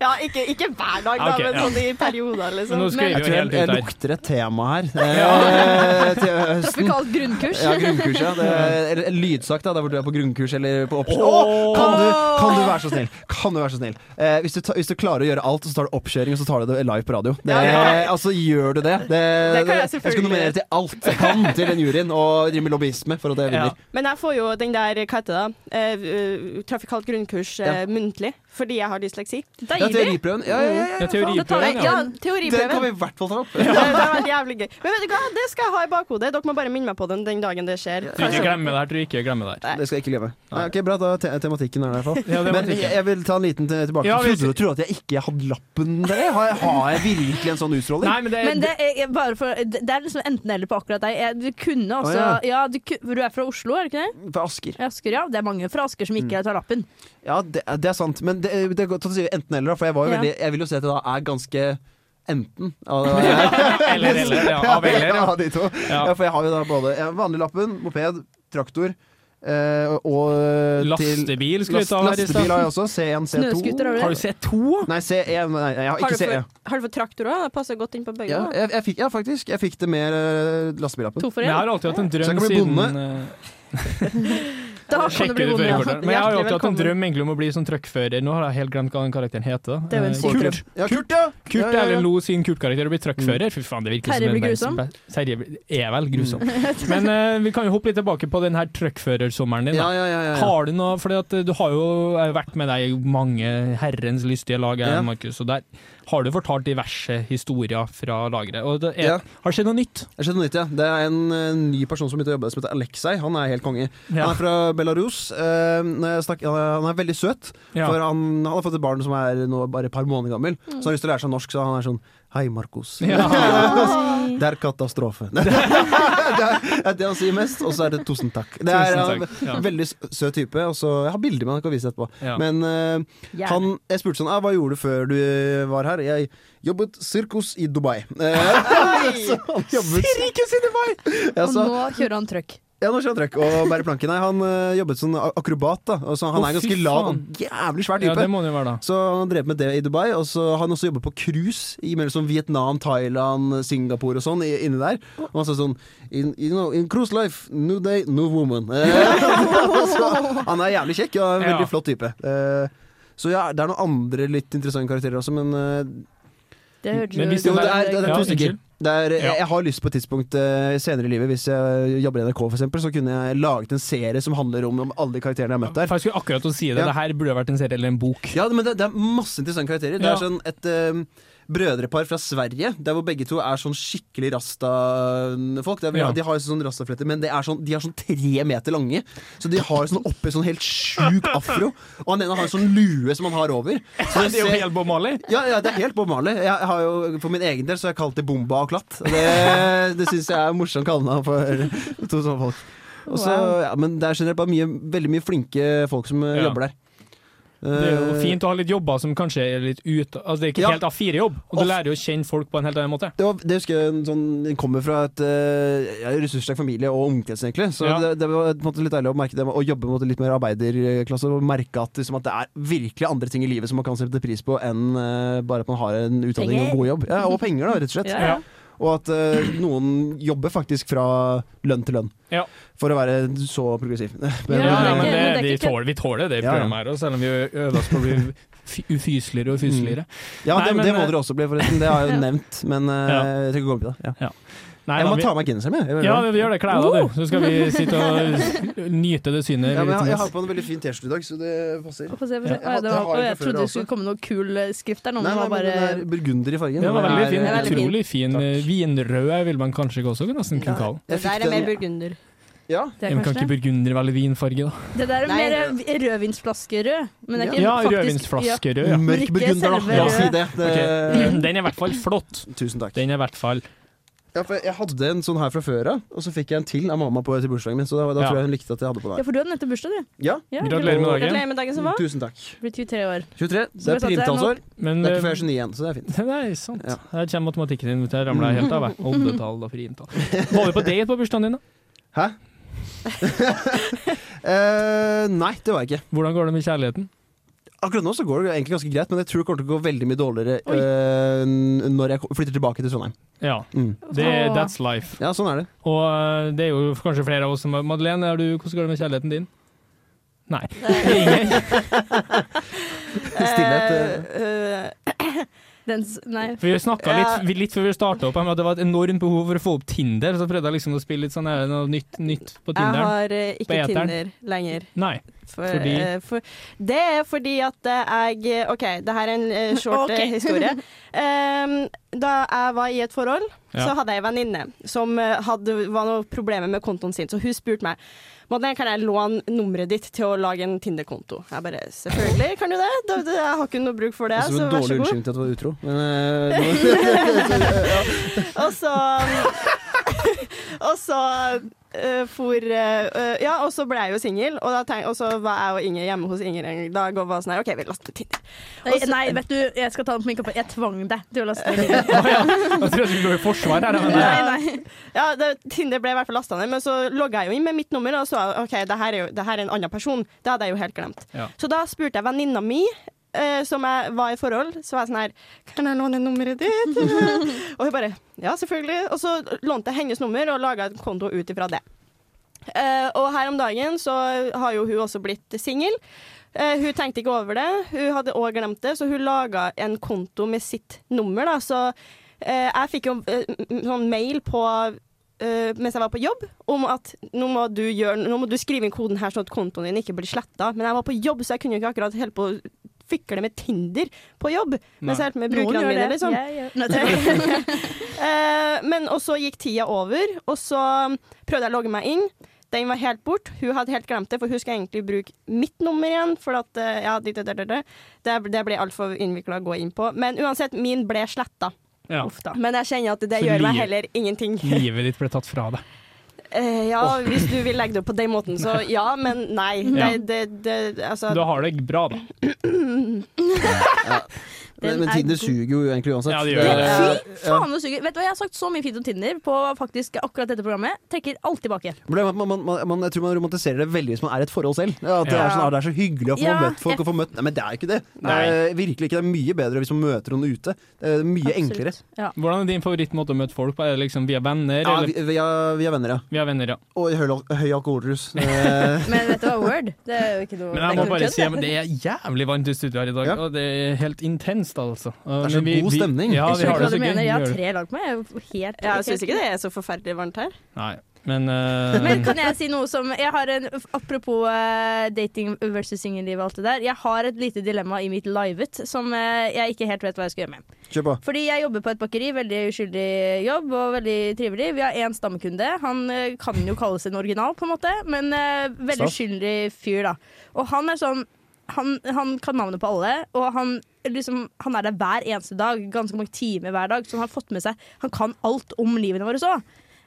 D: ja ikke, ikke hver dag, da,
C: Ok,
D: men
C: ja.
D: sånn i perioder,
C: Men
D: liksom.
C: nå skrev
B: Men-
C: vi
A: Jeg
C: jo
A: tror jeg,
C: helt ut
A: jeg
C: der.
A: lukter et tema her eh, til høsten.
B: Trafikalt grunnkurs.
A: Ja, grunnkurs, ja. Det er, eller lydsak, da, der hvor du er på grunnkurs eller på oppkjøring. Åh, Kan, du, kan du være så snill? Kan du være så snill? Eh, hvis, du ta, hvis du klarer å gjøre alt, og så tar du oppkjøring, og så tar du det live på radio. Det,
D: Ja, ja.
A: Altså, gjør du det? Det,
D: Det kan jeg
A: Jeg skal
D: selvfølgelig.
A: nominere til alt jeg kan til den juryen, og drive med lobbyisme for at jeg vinner.
D: Men jeg får jo den der, hva heter det, da? eh, eh, trafikalt grunnkurs eh, muntlig, fordi jeg har dysleksi.
A: Ja,
B: Deilig.
A: teoriprøven. Ja, ja, ja,
C: Ja,
A: ja.
C: teoriprøven, ja.
D: Ja,
A: Den kan
D: teoriprøven.
A: vi i hvert fall ta opp.
D: Det, det har vært jævlig gøy. Men vet du hva, det skal jeg ha i bakhodet. Dere må bare minne meg på den den dagen det skjer.
C: Du ikke glemme det her, tror jeg ikke glemme det her.
A: Det skal jeg ikke glemme. Nei, ok, Bra, da er te tematikken er der i hvert fall.
C: Ja, det er
A: Men
C: tematikken.
A: jeg, jeg vil ta en liten til- tilbake.
C: Ja, vi-
A: Trodde du trodde at jeg ikke hadde lappen der? Har jeg, har jeg virkelig en sånn utstråling?
C: Nei, men det,
B: Men det er, jeg- bare for, det er liksom enten eller på akkurat deg. Jeg- Du kunne også
A: Å,
B: Ja, du, ku- du er fra Oslo, er du ikke det?
A: Fra Asker.
B: Asker, ja. Det er mange fra Asker som
A: Mm.
B: ikke tar lappen.
A: Ja, det, det er sant. Men det, det er godt å si enten eller, da, for jeg, var jo
B: Ja.
A: veldig, jeg vil jo si at jeg da er ganske enten. Ja, det var jeg.
C: det, eller, eller, ja, av eller, ja.
A: Ja, de to.
C: Ja.
A: Ja, for jeg har jo da både jeg har vanlig lappen, moped, traktor eh, og til
C: Lastebil skulle vi
A: last-
C: ta her i
A: lastebil
C: stad.
A: har jeg også. C1,
B: Snøskuter
A: C2.
B: har du
C: Har du
B: det?
C: sett to?
A: Nei, C1 Nei, jeg har
D: Har
A: ikke
D: du
A: C1.
D: fått, har du fått traktor òg? Det passer godt inn på bøyga.
A: Ja, jeg, jeg fikk, ja, faktisk. Jeg fikk det med eh, lastebillappen.
B: To for
C: Men jeg
B: én?
C: har alltid hatt en
A: Så jeg
C: drøm
A: kan bli
C: siden
A: bonde.
C: eh,
B: Da kan
C: Sjekker
B: det
C: du
B: bli altså? vondt. ja.
C: førerkortet. Men jeg har jo
D: Hjertelig
C: alltid hatt en
D: velkommen.
C: drøm egentlig om å bli sånn truckfører. Nå har jeg helt glemt hva den karakteren heter. da.
B: Det er jo en
C: Eh,
B: syk
C: Kurt.
B: drøm.
A: Ja, Kurt, ja!
C: Kurt
A: ja, ja, ja.
C: Erlend Lo sin Kurt-karakter og blir truckfører. Fy faen, det virker
B: Mm. Terje
C: som en
B: blir
C: verdens
B: grusom.
C: best- Terje blir- er vel grusom. Men eh, vi kan jo hoppe litt tilbake på den her truckførersommeren din.
A: Ja,
C: da.
A: ja, ja, ja.
C: Har du noe, fordi at eh, du har jo eh, vært med deg i mange herrens lystige lag, her,
A: Ja.
C: Markus, og der har du fortalt diverse historier fra lageret. Og det
A: Ja.
C: er, har det skjedd noe nytt?
A: Det skjedde noe nytt, ja. Det er en eh, ny person som begynte å jobbe som heter Aleksej. Han er helt konge. Han er fra Belarus. Eh, når jeg snakker- han, er, han er veldig søt,
C: Ja.
A: for han, han har fått et barn som er nå bare et par måneder gammel. Så han har lyst til å lære seg norsk, så han er sånn Hei, Markus.
B: Oi.
A: Det er katastrofe. det, er, det er det han sier mest, og så er det tusen takk. Det er
C: Tusen
A: en
C: takk. Ja.
A: veldig s- søt type. Og så, jeg har bilder med han, jeg kan vise etterpå.
C: Ja.
A: Men eh,
B: Gjerne.
A: han, jeg spurte sånn «Ah, Hva gjorde du før du eh, var her? Jeg jobbet sirkus i Dubai. Eh, så han jobbet, sirkus i Dubai! Ja,
B: Og
A: så,
B: nå kjører han trøkk.
A: Ja, nå kjører han trekk og bærer planken. Nei, han øh, jobbet som a- akrobat, da. Og så han
C: Å,
A: er
C: fy
A: ganske lav
C: faen.
A: og jævlig svær
C: Ja,
A: type.
C: det må han jo være, da.
A: så han har drevet med det i Dubai, og så har han også jobbet på cruise i mellom sånn Vietnam, Thailand, Singapore og sånn, i- inni der. Og han sa sånn in, you know, in cruise life, new day, new woman. Eh, så, han er jævlig kjekk og en
C: Ja.
A: veldig flott type. Eh, så ja, det er noen andre litt interessante karakterer også, men eh,
B: Det hørtes
C: Men hvis
A: jo,
C: det
A: det er, det er
C: Ja,
A: to stykker.
C: unnskyld.
A: Det er,
C: Ja.
A: jeg, jeg har lyst på et tidspunkt eh, senere i livet, hvis jeg jobber i NRK for eksempel, så kunne jeg laget en serie som handler om, om alle de karakterene jeg har møtt der.
C: For jeg skulle akkurat til å si det.
A: Ja.
C: Det her burde vært en serie eller en bok.
A: Ja, men det, det er masse interessante karakterer. Det
C: Ja.
A: er sånn et eh, brødrepar fra Sverige, der hvor begge to er sånn skikkelig rasta-folk. Det er-
C: Ja.
A: De har jo sånn rastafletter, men det er sånn, de er sånn tre meter lange. Så de har sånn oppi sånn helt sjuk afro. Og han ene har en sånn lue som han har over. Så det
C: Det er jo
A: ser-
C: helt Bob Marley.
A: ja, ja, det er helt Bob Marley. Jeg har jo, for min egen del så har jeg kalt det Bomba og Klatt. Og Det, det syns jeg er morsomt kallenavn for to sånne folk. Og så,
B: Wow.
A: ja, men det er generelt bare mye, veldig mye flinke folk som eh,
C: Ja.
A: jobber der.
C: Det er jo
A: Eh,
C: fint å ha litt jobber som kanskje er litt ut Altså det er ikke
A: Ja.
C: helt A4-jobb, og du
A: Of-
C: lærer jo å kjenne folk på en helt annen måte.
A: Det, var, det husker jeg en sånn, den kommer fra et eh, ja, ressurssterk familie og omkrets, egentlig. Så
C: Ja.
A: det, det var på en måte litt deilig å merke det, og jobbe mot litt mer arbeiderklasse. Og merke at, liksom, at det er virkelig andre ting i livet som man kan sette pris på enn eh, bare at man har en utdanning og
B: Penger.
A: god jobb. Ja, og penger, da, rett og slett.
B: Ja, ja.
A: Og at eh, noen jobber faktisk fra lønn til lønn.
C: Ja.
A: For å være så progressiv.
B: Ja,
A: Men,
C: Ja, ja,
B: men
C: men
B: det-
C: det,
B: men det er
C: vi,
B: ikke-
C: tåler, vi tåler det i
A: Ja, ja.
C: programmet her, også, selv om vi øver oss på å bli f- ufyseligere og ufuseligere.
A: ja,
C: Nei,
A: det,
C: men,
A: det må
C: eh,
A: dere også bli, forresten. Det har jeg jo nevnt. Men eh,
C: Ja.
A: jeg trenger ikke gå inn på det. Ja.
C: Nei,
A: Jeg
C: da,
A: må
C: vi-
A: ta av meg genseren, jeg.
C: ja, vi gjør det. Kle av deg, du. Så skal vi sitte og s- nyte det synet.
A: Ja, men
C: litt
A: jeg, jeg
C: mens.
A: har på en veldig fin T-skjorte i dag, så det passer.
B: Få se, få
A: Ja,
B: se. Å, ja, det
A: det
B: var,
A: har
B: å,
A: jeg fra
B: jeg
A: før
B: trodde det
A: også.
B: skulle komme noe kul eh, skrift der nå, men
A: Nei,
B: det var
A: nei, men
B: bare
A: den er burgunder i fargen.
C: Den var veldig fin.
B: Den er veldig fin.
C: Utrolig fin. eh,
A: Takk.
C: Vinrød vil man kanskje også nesten kunne kalle
A: eh, Jeg
C: den.
D: Det
A: fikk
D: der er mer
A: den
D: burgunder.
A: ja.
B: det,
C: Men
B: er
C: Kan
B: kanskje
C: ikke burgunder være vinfarge, da?
B: det. det der er
D: Nei.
B: mer eh, rødvinsflaskerød. Men det er ikke
C: Ja,
B: faktisk ja.
C: rødvinsflaskerød. Ja.
B: Men
A: Mørk
B: ikke
A: burgunder,
B: selve
A: da. La oss si
B: røde.
A: det. det eh.
C: Ok, Den er i hvert fall flott.
A: Tusen takk.
C: Den er i hvert fall
A: Ja, for jeg hadde en sånn her fra før av, og så fikk jeg en til av mamma på til bursdagen min. Så da, da
C: Ja.
A: tror jeg hun likte at jeg hadde på
B: Ja,
A: der.
B: for du hadde nettopp bursdag, du.
A: Ja,
B: Ja,
C: Gratulerer med dagen.
D: Gratulerer med dagen som var.
A: tusen takk.
B: Blir 23 år.
A: 23. Det
B: Så jeg
A: er
B: satte deg nå.
A: primtallsår.
C: Men eh,
A: Det er ikke før jeg er 29 igjen, så det er fint.
C: Nei, sant.
A: Ja.
C: Her kommer matematikken din. vet du. Jeg ramla helt av. jeg. Oddetall og primtall. Var vi på date på bursdagen din? da?
A: Hæ? Eh, nei, det var jeg ikke.
C: Hvordan går det med kjærligheten?
A: Akkurat nå så går det egentlig ganske greit, men jeg tror det kommer til å gå veldig mye dårligere
B: Oi.
A: eh, når jeg ko- flytter tilbake til Trondheim.
C: Ja,
A: Mm.
C: det,
B: Åh.
C: that's life.
A: Ja, sånn er det.
C: Og eh, det er jo kanskje flere av oss som Madeleine, er du, hvordan går det med kjærligheten din? Nei. Ingen.
A: Stillhet.
D: Eh,
B: Den, s- nei.
C: For vi snakka litt, vi- litt før vi starta opp her med at det var et enormt behov for å få opp Tinder, så prøvde jeg liksom å spille litt sånn her, noe nytt, nytt på
D: jeg
C: Tinder.
D: har eh,
C: På
D: ikke
C: eteren.
D: Tinder lenger.
C: Nei.
D: For,
C: Fordi?
D: eh, for, det er fordi at eh, jeg OK, det her er en eh, short eh,
B: Ok.
D: historie. Em, da jeg var i et forhold, så
C: Ja.
D: hadde jeg en venninne som eh, hadde, var noe problemer med kontoen sin. Så hun spurte meg Madeleine, kan jeg låne nummeret ditt til å lage en Tinder-konto. Jeg bare selvfølgelig kan du det. Da, da, jeg har ikke noe bruk for det,
A: Som
D: så
A: Altså, en
D: vær
A: dårlig
D: så god.
A: unnskyldning til at du var utro. eh, Men, eh,
D: Og så Og så eh, for eh, eh, Ja, og så ble jeg jo singel, og, da tenk- og så var jeg og Inger hjemme hos Inger en dag og var sånn her OK, vi laster Tinder.
B: Nei, nei, vet du, jeg skal ta den på min kappe. Jeg tvang deg til å laste den.
C: Å ja. Jeg tror jeg skulle gå i forsvar her, men eh,
B: Nei,
C: det-
B: nei.
D: Ja, det, Tinder ble i hvert fall lasta ned, men så logga jeg jo inn med mitt nummer, og så OK, det her er jo det her er en annen person. Det hadde jeg jo helt glemt.
C: Ja.
D: Så da spurte jeg venninna mi, eh, som jeg var i forhold, så var jeg sånn her Kan jeg låne nummeret ditt? og hun bare Ja, selvfølgelig. Og så lånte jeg hennes nummer og laga en konto ut ifra det. Eh, og her om dagen så har jo hun også blitt singel. Eh, hun tenkte ikke over det. Hun hadde òg glemt det, så hun laga en konto med sitt nummer, da. Så eh, jeg fikk jo eh, m- m- sånn mail på eh, mens jeg var på jobb, om at nå må, du gjøre, nå må du skrive inn koden her, sånn at kontoen din ikke blir sletta. Men jeg var på jobb, så jeg kunne jo ikke akkurat holde på å fikle med Tinder på jobb. Mens jeg holdt med
B: Noen
D: brukerne
B: gjør
D: mine,
B: det.
D: liksom.
B: Jeg gjør- Nei, det-
D: Eh, men og så gikk tida over, og så prøvde jeg å logge meg inn. Den var helt bort. Hun hadde helt glemt det, for hun skulle egentlig bruke mitt nummer igjen. For at, eh, ja, det, det, det, det, det, det ble altfor innvikla å gå inn på. Men uansett, min ble sletta.
C: ja.
B: Uff da.
D: Men jeg kjenner at det
C: Så
D: gjør meg
C: liv-
D: heller ingenting.
C: Livet ditt ble tatt fra deg.
D: Eh, ja, hvis du vil legge det opp på den måten, så ja, men nei.
C: Ja.
D: Det, det, det, altså,
C: Du har det bra, da.
A: Men, men Tinder suger jo egentlig uansett.
C: Ja, det gjør
B: Det,
C: det.
A: Eh,
B: fy faen, det suger. Vet du hva, Jeg har sagt så mye fint om Tinder på faktisk akkurat dette programmet. Trekker alt tilbake.
A: Problemet er at man, man, man, man, jeg tror man romantiserer det veldig hvis man er i et forhold selv. Ja, At det,
C: Ja.
A: er sånn, ah, det er så hyggelig å få
B: Ja,
A: møtt folk og få møtt Nei, men det er ikke det. Det
C: Nei.
A: er virkelig ikke. Det er mye bedre hvis man møter noen ute. Det er mye enklere.
B: Absolutt. Ja.
C: Hvordan er din favorittmåte å møte folk på? Er det liksom via venner?
A: Ja,
C: eller?
A: vi, vi, er, vi er venner, ja.
C: Via venner, ja.
A: Og i høy, høy alkoholrus. Eh,
B: Men vet du hva, Word? Det er jo ikke noe
C: Men
B: det er ikke
C: jeg må
B: noe
C: bare
B: kødd,
C: si at det er jævlig varmt i studio her i dag,
A: Ja.
C: og det er helt intenst, altså. Det
A: er så god stemning.
C: Ja,
B: Jeg
C: vi
B: skjønner ikke
C: har det
B: hva
C: så
B: du
C: gøy.
B: mener. Jeg
C: Vi gjør
B: har
C: det.
B: tre lag på meg. Jeg er jo helt
D: Ja, jeg syns
B: helt-
D: ikke det er så forferdelig varmt her.
C: Nei, men, eh,
B: Men kan jeg si noe som jeg har en, Apropos eh, dating versus singelliv og alt det der. Jeg har et lite dilemma i mitt livet som eh, jeg ikke helt vet hva jeg skal gjøre med.
A: Kjør på.
B: Fordi jeg jobber på et bakeri, veldig uskyldig jobb og veldig trivelig. Vi har én stamkunde. Han eh, kan jo kalles en original, på en måte, men eh, veldig
A: Stas.
B: uskyldig fyr, da. Og han er sånn han, han kan navnet på alle, og han, liksom, han er der hver eneste dag. Ganske mange timer hver dag. Så han har fått med seg Han kan alt om livene våre så.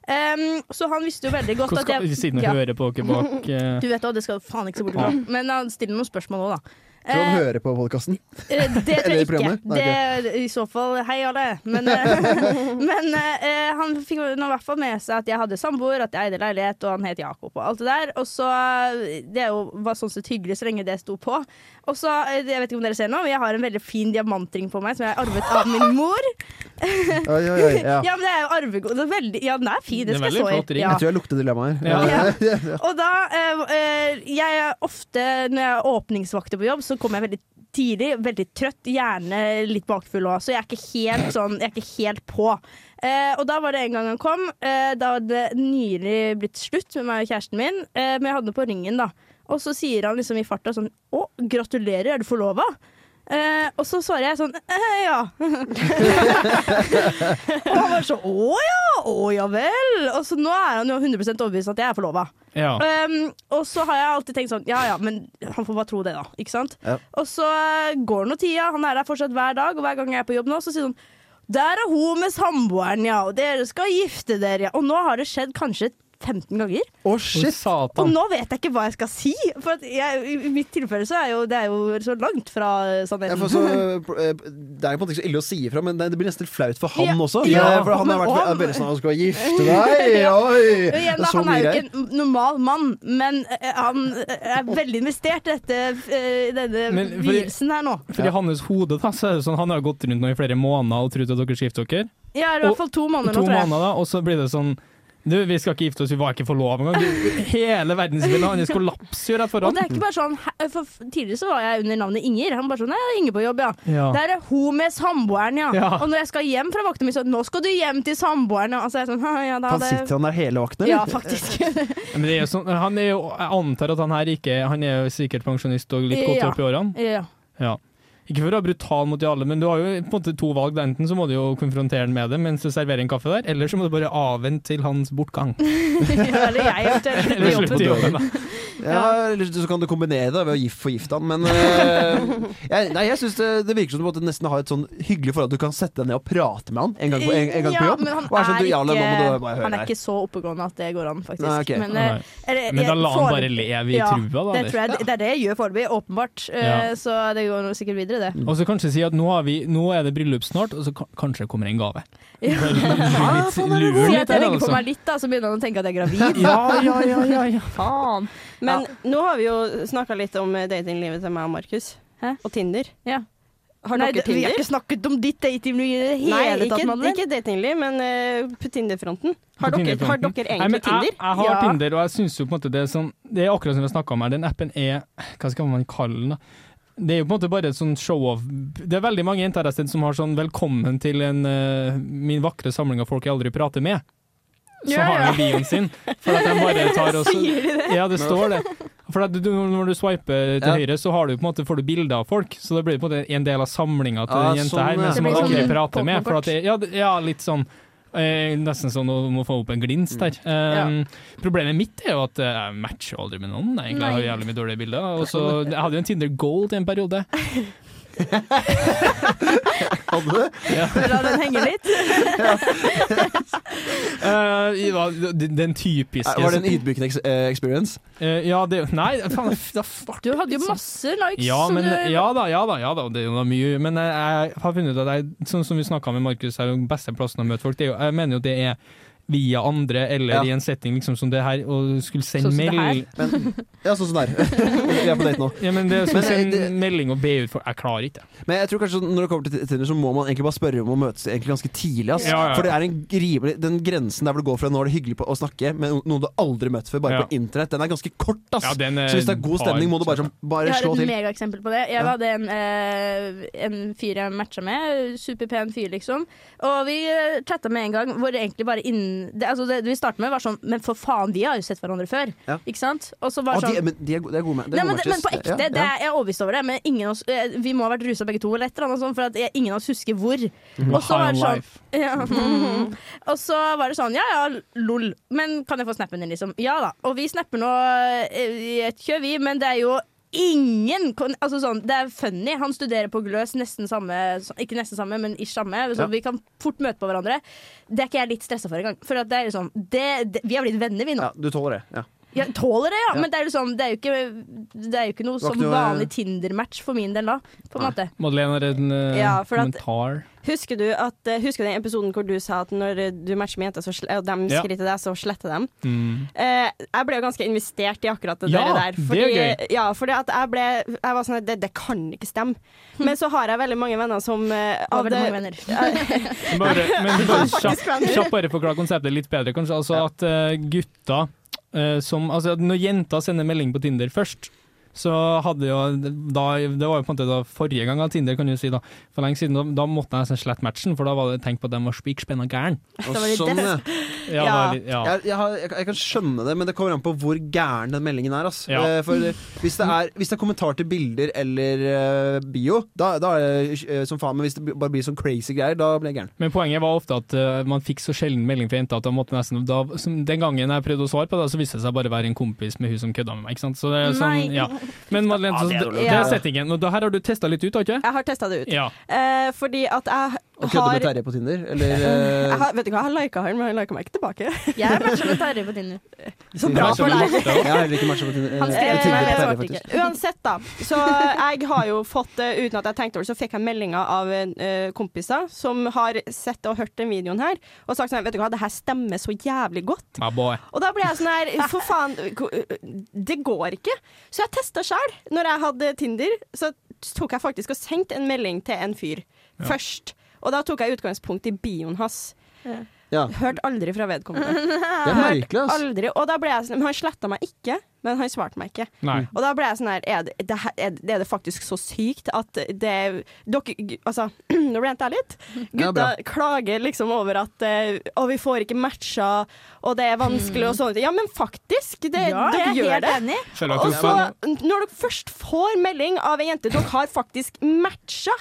B: Ehm, så han visste jo veldig godt
C: hvordan
B: at
C: skal
B: jeg
C: vi siden
B: Ja.
C: og høre på dere bak eh,
B: Du vet hva, det skal du faen ikke se bort fra. Men han stiller noen spørsmål òg, da.
A: Tror han
B: Eh,
A: hører på podkasten.
B: Eh, Det tror
A: Eller i
B: jeg ikke.
A: programmet? Nei,
B: Det, I så fall hei, alle. Men, eh, men eh, han fikk nå i hvert fall med seg at jeg hadde samboer, at jeg eide leilighet, og han het Jakob og alt det der. Og så eh, Det er jo- var sånn sett hyggelig så lenge det sto på. Og så, eh, jeg vet ikke om dere ser nå, men jeg har en veldig fin diamantring på meg som jeg har arvet av min mor.
A: Oi, oi, oi, ja.
B: Ja, men det er jo arvegod det er veldig, Ja, den er fin, det
C: Den er
B: skal jeg
C: veldig
B: så
C: flott
B: i.
C: ring.
B: Ja.
A: Jeg tror jeg lukter dilemmaet her.
C: Ja.
B: Og da eh, eh, Jeg er ofte, når jeg er åpningsvakter på jobb, så kommer jeg veldig tidlig, veldig trøtt, gjerne litt bakfull òg, så jeg er ikke helt sånn Jeg er ikke helt på. Eh, og da var det en gang han kom. Eh, da hadde det nylig blitt slutt med meg og kjæresten min, eh, men jeg hadde den på ringen, da. Og så sier han liksom i farta sånn Å, gratulerer, er du forlova? Eh, og så svarer jeg sånn eh, ja. og han var sånn å ja, å ja vel. Og så nå er han jo 100 overbevist om at jeg er forlova.
C: Ja.
B: Um, og så har jeg alltid tenkt sånn Ja ja, men han får bare tro det, da. Ikke sant?
A: Ja.
B: Og så eh, går nå tida, han er der fortsatt hver dag, og hver gang jeg er på jobb nå, så sier han Der er hun med samboeren, ja, og dere skal gifte dere, ja. Og nå har det skjedd kanskje 15 ganger.
A: Å,
C: Å,
A: shit!
B: Og
C: Satan.
B: nå vet jeg ikke hva jeg skal si. For at jeg, i- i mitt tilfelle så er jo det er jo så langt fra eh,
A: Ja,
B: sannheten.
A: for så, eh, det er jo på en måte ikke så ille å si ifra, men det det blir nesten litt flaut for han
B: Ja,
A: også.
B: ja,
A: Eh, for han har
B: men
A: vært
B: han-
A: er veldig sånn Han skal gifte deg! Oi!
B: Og igjen,
A: Det
B: da,
A: er så
B: han er
A: mye
B: jo
A: greier.
B: ikke en normal mann, men eh, han eh, er veldig investert i dette, eh, denne
C: Men fordi-
B: vielsen her nå.
C: For i hans hode da, så er det sånn, han har gått rundt nå i flere måneder og trodd at dere skifter dere.
B: Ja, i
C: Og-
B: hvert fall to måneder nå,
C: To
B: tror jeg.
C: måneder da, og så blir det sånn du, Vi skal ikke gifte oss, vi var ikke forlova engang. Du, Hele verdensbildet hans kollapser jo rett
B: Og
C: foran.
B: det er ikke bare sånn he- For f- tidligere så var jeg under navnet Inger. Han bare sånn Nei, jeg er Inger på jobb, ja.
C: Ja.
B: Der er hun med samboeren, ja.
C: Ja.
B: Og når jeg skal hjem fra vakta mi, så Nå skal du hjem til samboeren, ja. Altså, jeg er sånn, «Hæ, ja, da,
A: Han
B: det...
A: sitter han der hele vakten,
B: Ja,
A: eller?
B: faktisk.
C: Men det er jo sånn, han er jo, jeg antar at han her ikke Han er jo sikkert pensjonist og litt godt
B: Ja.
C: opp i årene.
B: ja.
C: Ja. Ikke for å være brutal mot de alle, men du har jo på en måte to valg. Enten så må du jo konfrontere han med det mens du serverer en kaffe der, eller så må du bare avvente til hans bortgang.
B: Eller jeg eventuelt.
C: Eller
B: slutter
C: slutte
B: i
C: i
B: jobben.
C: jobben, da.
A: Ja, eller så kan du kombinere det ved å gif- forgifte han, men eh, jeg, Nei, jeg syns det, det virker som du måtte nesten ha et sånn hyggelig forhold. Du kan sette deg ned og prate med han en gang på, en, en gang på
B: Ja,
A: jobb.
B: men han
A: Og er sånn, du, ja, eller, nå må du
B: ikke,
A: bare høre
B: han er
A: her.
B: ikke så oppegående at det går an, faktisk.
A: Nei, ok.
B: Men,
C: Nei.
B: eh, eller,
C: Men da
B: jeg-
C: la han
B: foreløpig-
C: bare leve i
B: Ja,
C: trua, da.
B: det,
C: eller?
B: tror jeg, det er det jeg gjør foreløpig, åpenbart. Eh, Så det går nå sikkert videre, det.
C: Og så kanskje si at nå, har vi, nå er det bryllup snart, og så kan- kanskje det kommer en gave.
B: Ja. sånn
C: Bare lure litt- lure
B: Si
C: litt
B: at jeg
C: der,
B: legger på
C: altså.
B: meg litt, da, så begynner han å tenke at jeg er gravid.
C: Ja, ja, ja, ja, ja.
B: Faen.
D: Men nå har vi jo snakka litt om eh, datinglivet til meg og Markus.
B: Hæ?
D: Og Tinder.
B: Ja.
D: Har
B: Nei,
D: dere
B: Vi har
D: Tinder?
B: ikke snakket om ditt datingliv i det
D: Nei,
B: hele
D: ikke,
B: tatt, Madeleine.
D: ikke datingliv, men eh, på Tinder-fronten. Har,
C: På
D: dere-
C: Tinder-fronten.
D: har dere
C: Nei, men
D: egentlig Tinder?
C: Jeg, jeg har
B: Ja.
C: Tinder, og jeg synes jo på en måte det er sånn Det er akkurat som vi snakka om her, den appen er Hva skal man kalle den, da? Det er jo på en måte bare et sånn show-off Det er veldig mange jenter der stedet som har sånn 'velkommen til en, eh, min vakre samling av folk jeg aldri prater med'. Så
B: Ja,
C: har
B: ja.
C: de bioen sin. For at de bare tar og så-
B: Sier de det?
C: Ja, det står det. For at du, når du swiper til
A: Ja.
C: høyre, så har du på en måte, får du bilder av folk. Så det blir på en måte en del av samlinga til
A: Ah,
C: den jenta
A: sånn,
C: her, men
A: ja.
B: Det
C: som man
B: blir
C: aldri
B: sånn
C: prater med. For at det,
B: Pokémon-kort.
C: ja, det- ja, litt sånn eh, Nesten sånn å må få opp en glins der.
A: Mm.
C: Eh, Problemet mitt er jo at eh, jeg matcher jo aldri med noen. Egentlig. Jeg har
B: Nei.
C: jævlig mye dårlige bilder. Og så, jeg hadde jo en Tinder Gold i en periode.
A: Hadde du det?
B: La den henge litt.
C: Eh, i- hva- den, den typiske
A: Var det en ydmykende eks- eh, experience?
C: Eh, ja, det, nei, faen, da ble
B: Du hadde jo masse likes.
C: Ja,
B: som
C: men,
B: du,
C: ja da, ja da, ja da, det er jo mye Men jeg, jeg har funnet ut at jeg, sånn som vi snakka med Markus, er jo den beste plassen å møte folk. Det er jo, jeg mener jo det er via andre,
A: Ja.
C: eller i en setting liksom som det her, og skulle sende
B: Sånn som det
C: melding
B: her?
A: Men, ja, sånn som det er. Vi er på date nå.
C: ja, men det,
A: Men,
C: skulle
A: eh,
C: sende
A: det-
C: melding og be ut for Jeg klarer ikke.
A: Men jeg tror kanskje sånn, når det kommer til Tinder, så må man egentlig bare spørre om å møtes egentlig ganske tidlig. Ass.
C: Ja, ja.
A: For det er en rimelig, den grensen der hvor det går fra nå er det hyggelig på å snakke med noen du aldri møtt før, bare
C: Ja.
A: på internett, den er ganske kort.
B: Altså,
A: Ass.
C: Ja, den er
A: så hvis det er god stemning, må du bare, sånn,
B: Jeg
A: bare
B: har
A: slå
B: et
A: til.
B: megaeksempel på det. Jeg
A: Ja.
B: hadde en, eh, en fyr jeg matcha med. Superpen fyr, liksom. Og vi eh, chatta med en gang hvor det egentlig bare innen det, altså det, vi startet med, var sånn Men for faen, vi har jo sett hverandre før.
A: Ja.
B: Ikke sant? Og så
A: Ah,
B: var det
A: de,
B: sånn
A: men de er, go- det er gode, med- det er
B: Nei,
A: gode
B: men, det- men
A: matches.
B: på ekte,
A: Ja,
B: Det
A: ja.
B: er, jeg er overbevist over det. Men ingen av oss, eh, vi må ha vært rusa begge to, eller et eller annet sånt, for at jeg, ingen av oss husker hvor. Og så var det sånn ja. Og så var det sånn, ja ja, lol, men kan jeg få snappen din, liksom? Ja da. Og vi snapper nå eh, i et kjør, vi, men det er jo ingen kon- Altså sånn, det er funny. Han studerer på Gløs nesten samme så- Ikke nesten samme, men ish samme, så
A: Ja.
B: vi kan fort møte på hverandre. Det er ikke jeg litt stressa for engang. For at det er liksom det, det, Vi har blitt venner, vi nå.
A: Ja, du tåler det. Ja.
B: Jeg tåler det, ja,
A: Ja.
B: men det er, liksom, det er jo ikke Det er jo ikke noe
A: Var ikke
B: som
A: noe-
B: vanlig Tinder-match for min del da, på en
A: Nei.
B: måte.
C: Madeleine har en eh,
D: Ja, for at-
C: kommentar.
D: Husker du at, eh, husker du den episoden hvor du sa at når eh, du matcher med jenter, så sl- og de
C: Ja.
D: skriver til deg, så sletter dem?
C: Mm.
D: Eh, jeg ble jo ganske investert i akkurat det
C: Ja,
D: dere der.
C: det er
D: Ja, fordi at jeg ble Jeg var sånn at det, det kan ikke stemme. Men så har jeg veldig mange venner som eh,
B: Og
D: av
B: Hm. veldig mange
D: det-
B: venner.
C: Bare, men bare kjapt,
D: faktisk venner.
C: kjapt bare forklare konseptet litt bedre, kanskje. Altså at eh, gutta eh, som Altså at når jenter sender melding på Tinder først, så hadde jo da, Det var jo på en måte da forrige gang av Tinder, kan du si, da. For lenge siden. Da, da måtte jeg nesten slette matchen, for da var det tenkt på at de var spikspenna gæren.
A: Og
B: var litt
A: sånn,
B: dess-
A: ja.
C: Ja,
D: Ja.
C: da er litt- ja.
A: Jeg, jeg, har, jeg, jeg kan skjønne det, men det kommer an på hvor gæren den meldingen er. Ass.
C: Ja.
A: Eh, For eh, hvis det er, hvis det er kommentar til bilder eller eh, bio, da, da er det eh, som faen. Men hvis det bare blir sånn crazy greier, da blir jeg gæren.
C: Men poenget var ofte at eh, man fikk så sjelden melding fra jenta at da måtte nesten da, som, Den gangen jeg prøvde å svare på det, så viste det seg bare å være en kompis med hun som kødda med meg. Ikke sant? Så det er sånn,
B: Nei.
C: ja. Men Madeleine,
A: Ja,
C: så,
A: det er
C: det,
A: dårlig.
C: det
D: Ja.
C: er settingen. Og da, her har du testa litt ut, har du ikke?
D: Jeg har testa det ut.
C: Ja.
D: Eh, fordi at jeg
A: Å kødde med
D: har,
A: Terje på Tinder, eller
D: jeg
A: eh,
D: har Vet du hva, jeg lika han, men han lika meg ikke tilbake.
B: Jeg er matcha med Terje på Tinder.
A: eh,
D: Så
C: Det er
D: bra for
C: så
D: deg.
C: lett, da.
A: Jeg har heller ikke matcha på Tinder. eh,
B: Han skrev
A: Tinder
B: til meg,
A: på Terje,
B: jeg svarte
A: faktisk.
B: ikke.
D: Uansett, da. Så jeg har jo fått, eh, uten at jeg tenkte over det, så fikk jeg meldinger av eh, kompiser som har sett og hørt den videoen her, og sagt sånn Vet du hva, det her stemmer så jævlig godt.
C: My boy.
D: Og da ble jeg sånn her For faen, det går ikke. Så jeg testa sjøl. Når jeg hadde Tinder, så tok jeg faktisk og sendte en melding til en fyr først. Og da tok jeg utgangspunkt i bioen hans.
A: Ja,
D: Hørte aldri fra vedkommende.
A: det er merkelig, ass.
D: Aldri. Og da ble jeg sånn Men han sletta meg ikke. Men han svarte meg ikke.
C: Nei.
D: Og da ble jeg sånn her Er det, det, her- er det, er det faktisk så sykt at det Dere g- Altså, nå rant jeg litt.
A: Ja,
D: Gutta
A: bra.
D: klager liksom over at eh, Å, vi får ikke matcha, og det er vanskelig
A: Mm.
D: og sånne ting. Ja, men faktisk! Det,
B: Ja, jeg
D: dere
B: er
D: gjør
B: helt
D: det.
B: enig.
C: Føler
D: Og
C: jeg
D: så,
C: tok-
D: når dere først får melding av en jente dere har faktisk matcha,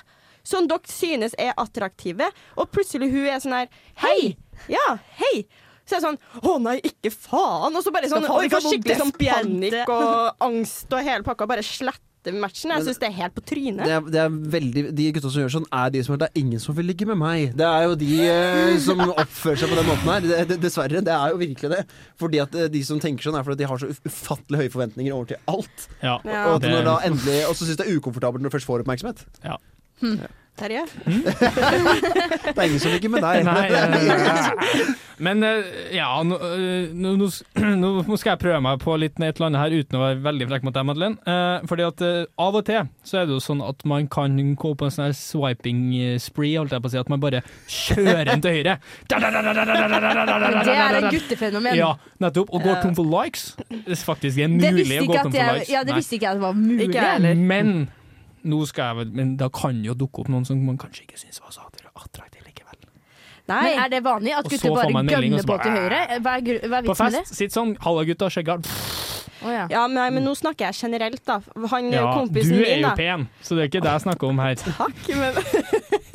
D: som dere synes er attraktive, og plutselig hun er sånn her Hei! Ja, hei! Så er det sånn Å nei, ikke faen! Og så bare sånn
B: Skal faen
D: oi,
B: ikke
D: får
B: ha noen
D: skikkelig sånn
B: despante.
D: panikk og angst og hele pakka. Bare sletter matchen. Jeg syns det er helt på
A: Det
D: trynet.
A: er, det er veldig, de gutta som gjør sånn, er de som er Det er ingen som vil ligge med meg. Det er jo de eh, som oppfører seg på den måten her. Det, det, dessverre. Det er jo virkelig det. Fordi at eh, de som tenker sånn, er fordi at de har så uf- ufattelig høye forventninger over til alt.
C: Ja.
D: Ja.
A: Og, at
C: det-
A: når da endelig, og så syns det er ukomfortabelt når du først får oppmerksomhet.
D: Terje?
A: Det er ingen som ligger med deg.
C: Nei, eh, men eh, ja, nå, eh, nå, nå s- nå nå skal jeg prøve meg på litt med et eller annet her uten å være veldig frekk mot deg, Madeleine. Eh, fordi at eh, av og til så er det jo sånn at man kan gå på en sånn her swiping eh, spree, holdt jeg på å si, at man bare kjører den til høyre. Da, da, da, da, da, da, da, da, da, da, da, da,
B: Det er
C: da,
B: et
C: da.
B: guttefenomen.
C: Ja, nettopp. Og går tom for likes. Det er faktisk er
B: det
C: mulig
B: visste
C: å gå
B: ikke
C: tom
B: at
C: for
B: jeg,
C: likes.
B: ja, det
C: Nei.
B: visste ikke jeg at det var mulig.
D: Ikke jeg heller.
C: Men nå skal jeg vel Men da kan jo dukke opp noen som man kanskje ikke syns var så attraktiv likevel.
D: Nei.
B: Men er det vanlig at
C: Og så
B: gutter
C: får
B: bare
C: man melding, og
B: gønner
C: så
B: på
C: bare-
B: til høyre? Hva er, gru- hva er
C: På
B: vitsen med det?
C: fest, sitt sånn. Halla, gutta, sjekk her.
B: Å, ja.
D: Ja, men, men nå snakker jeg generelt, da. Han
C: Ja, du
D: kompisen
C: er
D: min,
C: jo
D: da.
C: pen, så det er ikke det jeg snakker om her.
D: Takk, men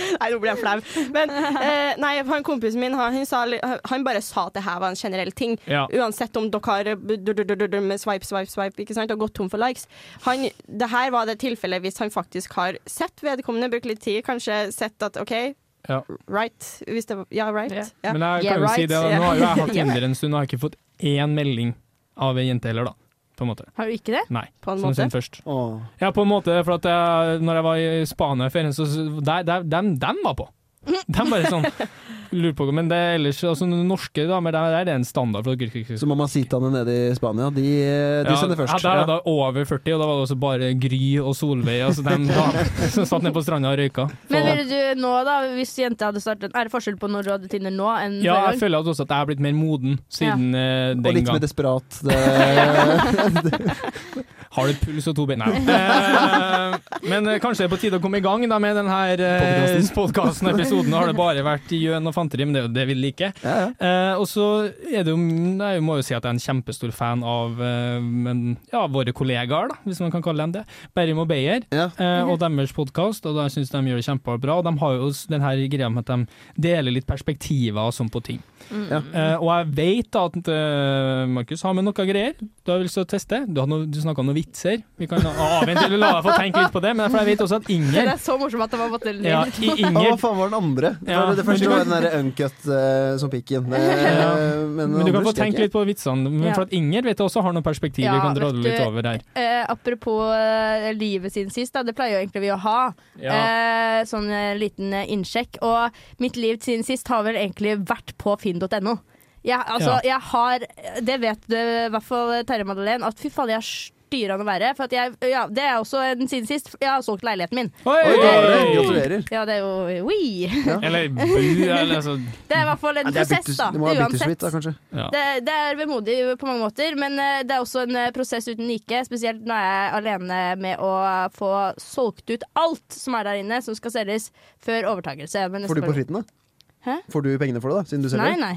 D: Nei, nå blir jeg flau. Men eh, nei, han kompisen min han, sa, li- han bare sa at det her var en generell ting.
C: Ja.
D: Uansett om dere har bu- du- du- du- du- du- med swipe, swipe, swipe ikke sant? og gått tom for likes. Han, det her var det tilfellet hvis han faktisk har sett vedkommende, brukt litt tid, kanskje sett at OK,
C: Ja.
D: right. Hvis det, var- ja, right.
B: Ja.
D: Ja.
C: Men jeg
B: Yeah,
C: kan jo si
B: right.
C: det, da. nå har jo jeg hatt
D: Yeah.
C: Tinder en stund, og jeg har ikke fått én melding av ei jente heller, da. På en måte.
B: Har du ikke det?
C: Nei.
D: På en
C: Som
D: måte.
C: sin først.
A: Åh.
C: Ja, på en måte, for at jeg, når jeg var i Spania i ferien, så så- der, der, dem, dem var på. Dem bare sånn lurer på Men det er ellers altså, norske damer, der, der er det en standard. For dere,
A: Så mammasitaene nede i Spania, de, eh, de sender først.
C: Ja,
A: Ja.
C: der er det over 40, og da var det også bare Gry og Solveig altså, dem da, som satt nede på stranda og røyka.
B: Men ville du nå, da, hvis jente hadde startet Er det forskjell på når du hadde Tinder nå enn
C: ja,
B: før?
C: jeg føler at også at jeg har blitt mer moden siden eh,
A: Og
C: den
A: litt mer
C: gang.
A: desperat. Det,
C: Har du puls og to bein? Nei. Eh, men eh, kanskje det er på tide å komme i gang da, med denne uh, podkasten og episoden. Har det bare vært gjøn og fanteri, men det er jo det vi liker.
A: ja, ja.
C: Eh, og så er det jo, jeg må jo si at jeg er en kjempestor fan av eh, men, ja, våre kollegaer, da, hvis man kan kalle dem det. Berrim og Beyer
A: Ja.
B: Mhm.
C: eh, og deres podkast, og jeg syns de gjør det kjempebra. Og de har jo s- den her greia med at de deler litt perspektiver og sånn på ting.
B: Mm.
A: Ja.
C: Eh, og jeg vet at eh, Markus har med noe greier du har lyst til å teste. Du, har noe- du snakka om noen vitser. Vi kan avvente eller la deg få tenke litt på det, men for jeg vet også at
B: Det
C: Inger
B: er så morsomt at det var måttet
C: ja,
B: litt.
C: i-
A: Å, hva
C: Inger
A: faen var den andre? Det
C: Ja,
A: var det første
C: men du-
A: var den der uncut eh, som pikken. Det,
C: Ja.
A: eh, den
C: men du
A: andre
C: kan få
A: husker jeg
C: tenke
A: ikke.
C: litt på vitsene, men
B: Ja.
C: for at Inger vet jeg også har noen perspektiv vi
B: Ja,
C: kan dra
B: vet
C: litt
B: du-
C: over her.
B: Eh, apropos eh, livet siden sist, da. Det pleier jo egentlig vi å ha.
C: Ja.
B: Eh, sånn eh, liten eh, innsjekk. Og mitt liv siden sist har vel egentlig vært på finn.no. Jeg, altså,
C: Ja.
B: jeg har Det vet du, i hvert fall eh, Terje Madeleine, at fy faen, jeg er styrende verre. For at jeg, ja, det er også en siden sist. Jeg har solgt leiligheten min.
C: Oi!
A: Oi, gratulerer,
C: Oi!
A: Gratulerer.
B: Ja, det er jo oui.
C: Eller bu, eller altså
B: Det er i hvert fall en
A: Ja, det, er
B: prosess,
A: bitters-
B: da.
A: det må være
B: Uansett.
A: bittersweet, da, kanskje.
C: ja.
B: Det, det er vemodig på mange måter, men eh, det er også en eh, prosess uten like. Spesielt når jeg er alene med å få solgt ut alt som er der inne, som skal selges før overtakelse. Men
A: Får du på fritten, da?
B: Hæ?
A: Får du pengene for det, da? Siden du
B: Nei,
A: selger?
B: nei.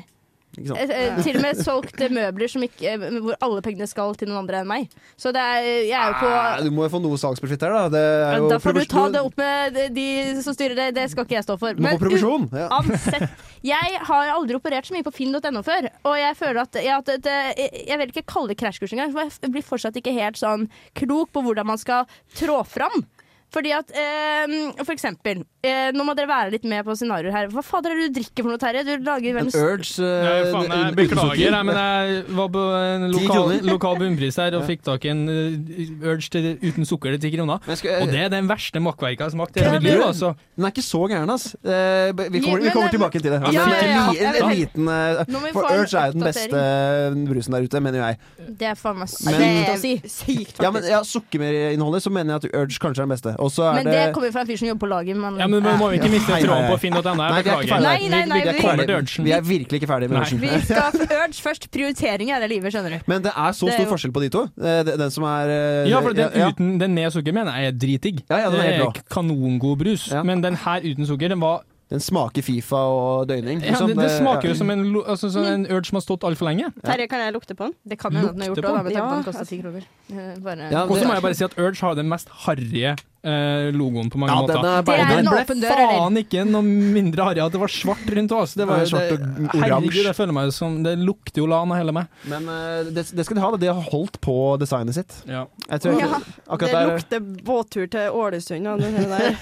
A: Ikke sant?
B: Eh, eh, Til og med solgt eh, møbler som ikke, eh, hvor alle pengene skal til noen andre enn meg. Så det er, jeg er jo på
A: Ah, du må jo få noe salgsprofitt her, da. Det er jo
B: Da får du
A: provisjon-
B: ta det opp med de- de som styrer det, det skal ikke jeg stå for.
A: Du må få provisjon! Ja.
B: Uansett, jeg har aldri operert så mye på finn.no før, og jeg føler at jeg, at det, jeg vil ikke kalle det krasjkurs engang, for jeg blir fortsatt ikke helt sånn klok på hvordan man skal trå fram. Fordi at, eh, for eksempel, eh, nå må dere være litt med på scenarioer her. Hva fader er det du drikker for noe, Terje? Du lager
A: En
B: verdens
A: urge
C: Nei,
A: eh,
C: faen, jeg
A: uten
C: beklager,
A: sukker.
C: jeg, men jeg var på en
A: Ti
C: lokal,
A: kroner.
C: lokal bunnpris her og fikk tak i en eh, Urge til, uten sukker til ti kroner.
A: Men jeg skal-
C: Og det er den verste makkverka jeg har smakt i hele
A: Eh,
C: mitt
A: Ja,
C: liv,
A: men-
C: altså.
A: Den er ikke så gæren, ass. Eh, b- vi, kommer, vi
B: Men-
A: kommer tilbake til det. Men
C: Ja,
B: ja, ja.
A: en, li- en, en liten eh,
B: Nå må vi
A: For
B: få en
A: Urge er jo den beste brusen der ute, mener jo jeg.
B: Det er faen meg
A: Men-
B: sykt å si.
D: Sykt,
A: Ja, men
D: faktisk.
A: ja, Sukkermerinnholdet, så mener jeg at Urge kanskje er den beste. Og så er
B: Men det
A: det
B: kommer jo fra en fyr som jobber på laget. Men,
C: Ja, men Man må jo ikke miste
A: Hei, hei,
C: tråden
A: hei.
C: på finn.no.
A: Nei,
C: Jeg
A: vi er ikke
C: beklager.
A: ferdig.
B: Nei, nei, nei,
A: vi,
B: vi-
C: Kommer til Urgen.
A: vi er virkelig ikke ferdig med
C: Nei.
A: Urgen.
B: vi skal urge først. Prioritering er det livet, skjønner du.
A: Men det er så
B: Det er
A: stor
B: jo-
A: forskjell på de to. Eh, det- Den som er eh,
C: Ja, for den
A: ja,
C: uten den med sukker mener jeg er dritdigg.
A: Ja, ja, den er
C: det
A: helt
C: er kanongod brus.
A: Ja.
C: Men den her uten sukker, den var
A: Den smaker Fifa og døgning.
C: ja,
A: liksom.
C: det, det
A: Det-
C: smaker
A: ja.
C: jo som en, lo- altså, sånn
A: mm.
C: en Urge som har stått altfor lenge.
D: Terje, kan jeg lukte på den?
B: Det kan hende at den har gjort
C: Lukter
B: det, da,
C: på
B: med
D: den.
B: tanke på at den
D: Ja,
B: kosta ti kroner. Eh, Bare.
A: Ja,
C: Og så
A: det-
C: må jeg bare si at Urge har den mest harrige eh, logoen på mange
A: ja, den
C: måter.
A: er
B: Det
A: bare
B: er
A: den
B: en
A: ble-
B: åpen dør, eller?
C: Faen ikke noe mindre harry at det var svart rundt oss. Det var
A: Ja, svart og
C: det-
A: oransje.
C: Herregud, jeg føler meg som Det lukter jo lan av hele meg.
A: Men eh, det, det skal de ha. da. De har holdt på designet sitt.
C: Ja.
A: Jeg tror
D: Ja,
A: akkurat
D: det
A: der-
D: lukter båttur til Ålesund. Og det der.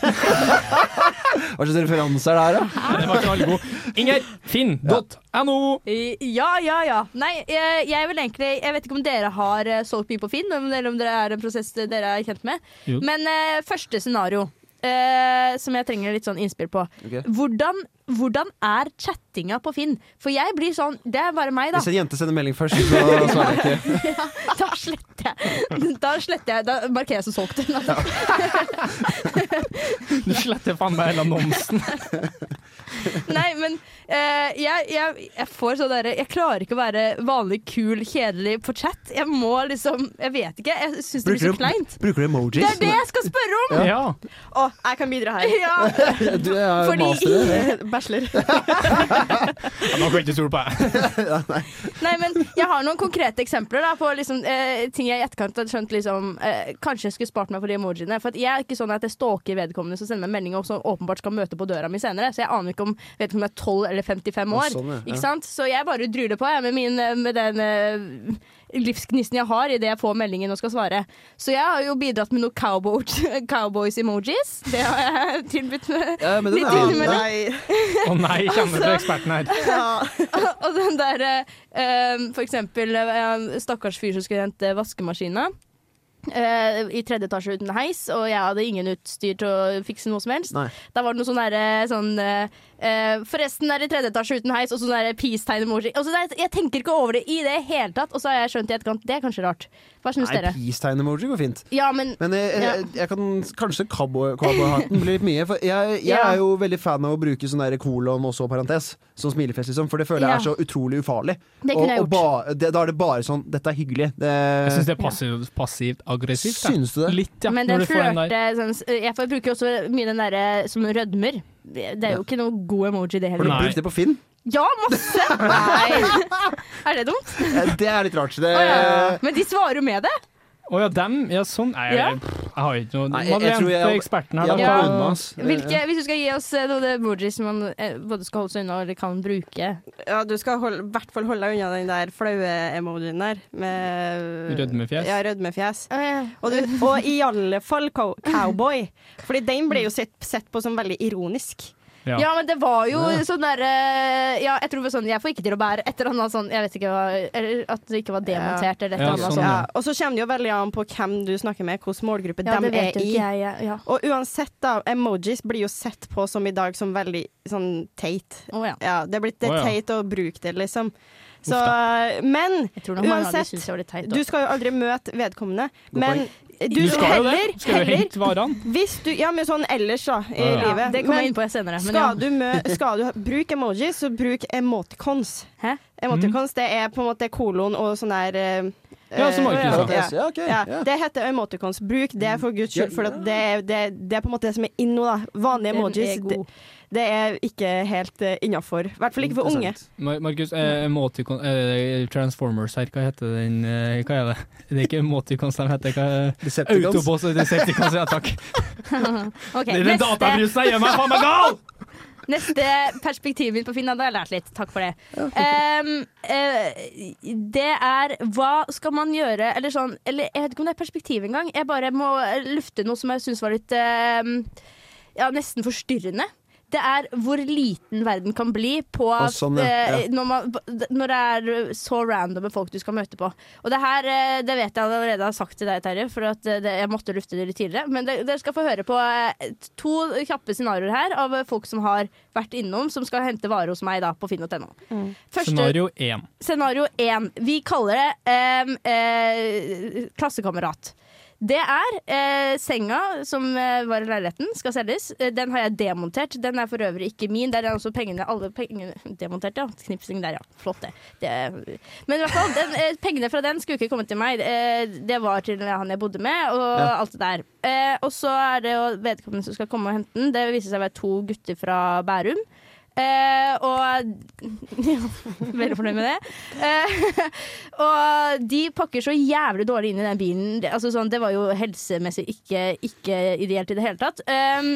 A: Hva slags referanse er det her, da?
C: Den var ikke alle god. Inger, finn.no.
B: Eh, Ja, ja, ja. Nei, jeg, jeg vil egentlig Jeg vet ikke om dere har eh, solgt mye på Finn, eller om dere er en prosess dere er kjent med.
C: Jo.
B: Men eh, første scenario, eh, som jeg trenger litt sånn innspill på.
A: Ok.
B: Hvordan, hvordan er chattinga på Finn? For jeg blir sånn Det er bare meg, da.
A: Hvis en jente sender melding først, så svarer jeg ikke.
B: Da sletter jeg. Da, sletter jeg, da markerer jeg som solgt.
C: Du sletter faen meg hele annonsen.
B: Nei, men eh, jeg, jeg, jeg får sånn derre Jeg klarer ikke å være vanlig kul, kjedelig på chat. Jeg må liksom Jeg vet ikke. Jeg syns det blir så
A: Bruker
B: kleint.
A: du, bruker du
B: Det er
A: emojis?
B: det jeg skal spørre om!
C: Ja.
D: Å, jeg kan bidra her.
B: Ja.
A: Du er
B: Fordi-
A: master i det.
D: Bachelor.
C: Nå kan jeg ikke stole på deg.
B: Nei, men jeg har noen konkrete eksempler da, på liksom, eh, ting jeg i etterkant har skjønt liksom, eh, Kanskje jeg skulle spart meg for de emojiene. For at jeg er ikke sånn at jeg stalker vedkommende som sender meg melding og som åpenbart skal møte på døra mi senere. Så jeg aner ikke om vedkommende er 12 eller 55 år.
A: Å, sånn, ja. Ja.
B: Ikke sant? Så jeg bare druler på jeg, med, min, eh, med den eh, livsgnisten jeg har idet jeg får meldingen og skal svare. Så jeg har jo bidratt med noen cowboy, cowboys-emojis. Det har jeg tilbudt meg.
A: Ja, men den
B: Litt
A: er,
B: innimellom.
D: Nei.
C: Å nei,
B: Altså.
C: kjenner du eksperten her?
D: Ja.
B: og den der eh, um, For eksempel eh, stakkars fyr som skulle hente vaskemaskina. eh, I tredje etasje uten heis, og jeg hadde ingen utstyr til å fikse noe som helst.
A: Nei.
B: Da var det noe sånn derre sånn eh, eh, Forresten er det tredje etasje uten heis, og sånn derre peace-tegn emoji. Og så der- Jeg tenker ikke over det i det hele tatt, og så har jeg skjønt i etterkant. Det er kanskje rart. Hva syns
A: Nei,
B: dere?
A: peace-tegn-emoji går fint.
B: Ja, men
A: Men jeg, jeg,
B: Ja.
A: jeg kan kanskje cowboy- cowboyhatten blir litt mye. For jeg, jeg
B: Ja.
A: er jo veldig fan av å bruke sånn der kolon og så parentes, som smilefjes, liksom. For det føler jeg er
B: Ja.
A: så utrolig ufarlig.
B: det
A: og,
B: kunne jeg
A: og
B: gjort.
A: ba, det, da er det bare sånn Dette er hyggelig. Det,
C: Jeg syns det er passiv, passivt aggressivt. da.
A: Syns du det?
C: Litt, ja.
B: men
C: når
B: den
C: du får den der.
B: flørte sånn, Jeg får- bruker jo også mye den derre som rødmer. Det er jo ikke noe god emoji, det
A: Har du
B: heller.
C: Nei.
A: brukt det på Finn?
B: Ja, masse! Nei. Er det dumt?
A: Eh, Det er litt rart. så Det,
B: Å, ja. Men de svarer jo med det.
C: Å ja, dem? Ja, sånn. Nei,
B: Ja.
C: jeg, jeg har ikke noe
A: Nei, jeg- jeg
C: Madeleine,
A: tror
C: du
A: jeg-
C: er eksperten her.
A: Jeg
C: da.
B: Ja.
A: var unna, ass.
B: Hvilke, hvis du skal gi oss eh, noen emojis som man eh, både skal holde seg unna eller kan bruke.
D: ja, du skal holde- i hvert fall holde deg unna den der flaue emojien der. Med
C: Rødmefjes.
D: Ja, rødmefjes.
B: Og
D: Og, du, og i alle fall cow cowboy. Fordi den ble jo sett, sett på som veldig ironisk.
C: Ja.
B: Ja, men det var jo
A: Ja.
B: sånn derre Ja, jeg tror det var sånn Jeg får ikke til å bære et eller annet sånn Jeg vet ikke hva Eller at det ikke var demontert eller et
C: Ja,
B: eller annet
C: sånn,
B: sånt.
C: ja.
D: Ja, og så kommer det jo veldig an på hvem du snakker med, hvilken målgruppe
B: Ja,
D: de
B: det vet
D: er
B: jo
D: i.
B: ikke jeg. jeg- Ja.
D: Og uansett, da. Emojis blir jo sett på som i dag som veldig sånn teit.
B: Å, ja.
D: Ja, det er blitt det er
C: Å, ja.
D: teit å bruke det, liksom. Så,
C: Uff
D: men
B: Jeg tror nok mange av de
D: Uansett,
B: syns jeg var litt teit.
D: du
B: også.
D: skal jo aldri møte vedkommende.
A: Godt
D: Men du,
C: Du skal jo det.
D: heller,
C: Skal jo
D: heller
C: hente varene.
D: Hvis du Ja, men sånn ellers, da, i
C: Ja, ja.
B: ja,
D: livet.
B: det kommer
D: Men-
B: jeg inn på senere. Men ja.
D: skal du, mø skal du ha- bruke emojis, så bruk emoticons.
B: Hæ?
D: Emoticons det er på en måte kolon og sånn der eh,
C: Ja, som
D: eh,
C: Markus sa.
D: ja.
A: Ja, ok,
D: Ja,
A: ja.
D: det heter emoticons. Bruk det for guds skyld, for at det, er- det, det er på en måte det som er inn nå. da. Vanlige
B: Den er
D: emojis
B: god.
D: det, det er ikke helt uh, innafor. I hvert fall ikke for unge.
A: Interessant.
C: Mar- Markus, eh, emoticon, eh, Transformers her, hva heter den eh, Hva er det? Det er ikke emoticons de heter. Hva er
A: Decepticons.
C: Autoboss og Decepticons, ja takk.
B: Ok,
C: Det er
B: neste,
C: den databrusen jeg gjør meg faen meg gal!
B: neste perspektiv mitt på Finn, da har jeg lært litt. Takk for det. Ehm, eh, det er hva skal man gjøre, eller sånn Eller jeg vet ikke om det er perspektiv engang. Jeg bare må lufte noe som jeg syns var litt ehm, Ja, nesten forstyrrende. Det er hvor liten verden kan bli på at,
A: sånn, ja.
B: eh,
A: Ja.
B: Når, man, når det er så random med folk du skal møte på. Og det her eh, det vet jeg allerede har sagt til deg, Terje, for at eh, det, jeg måtte lufte det litt tidligere. Men det, dere skal få høre på eh, to kjappe scenarioer her av eh, folk som har vært innom, som skal hente varer hos meg da, på finn.no. Første
C: Scenario én.
B: Scenario én. Vi kaller det em, eh, klassekamerat. Det er eh, senga som eh, var i leiligheten, skal selges. Eh, Den har jeg demontert. Den er for øvrig ikke min. Der er også pengene alle pengene, Demontert, ja. Knipsing der, ja. Flott, det. det men i hvert fall, den, eh, pengene fra den skulle ikke komme til meg. Eh, det var til han jeg bodde med, og alt det der. Eh, og så er det jo vedkommende som skal komme og hente den. Det viser seg å være to gutter fra Bærum. Eh, og ja, Veldig fornøyd med det. Eh, og de pakker så jævlig dårlig inn i den bilen. Det- Altså, sånn, det var jo helsemessig ikke, ikke ideelt i det hele tatt. Um,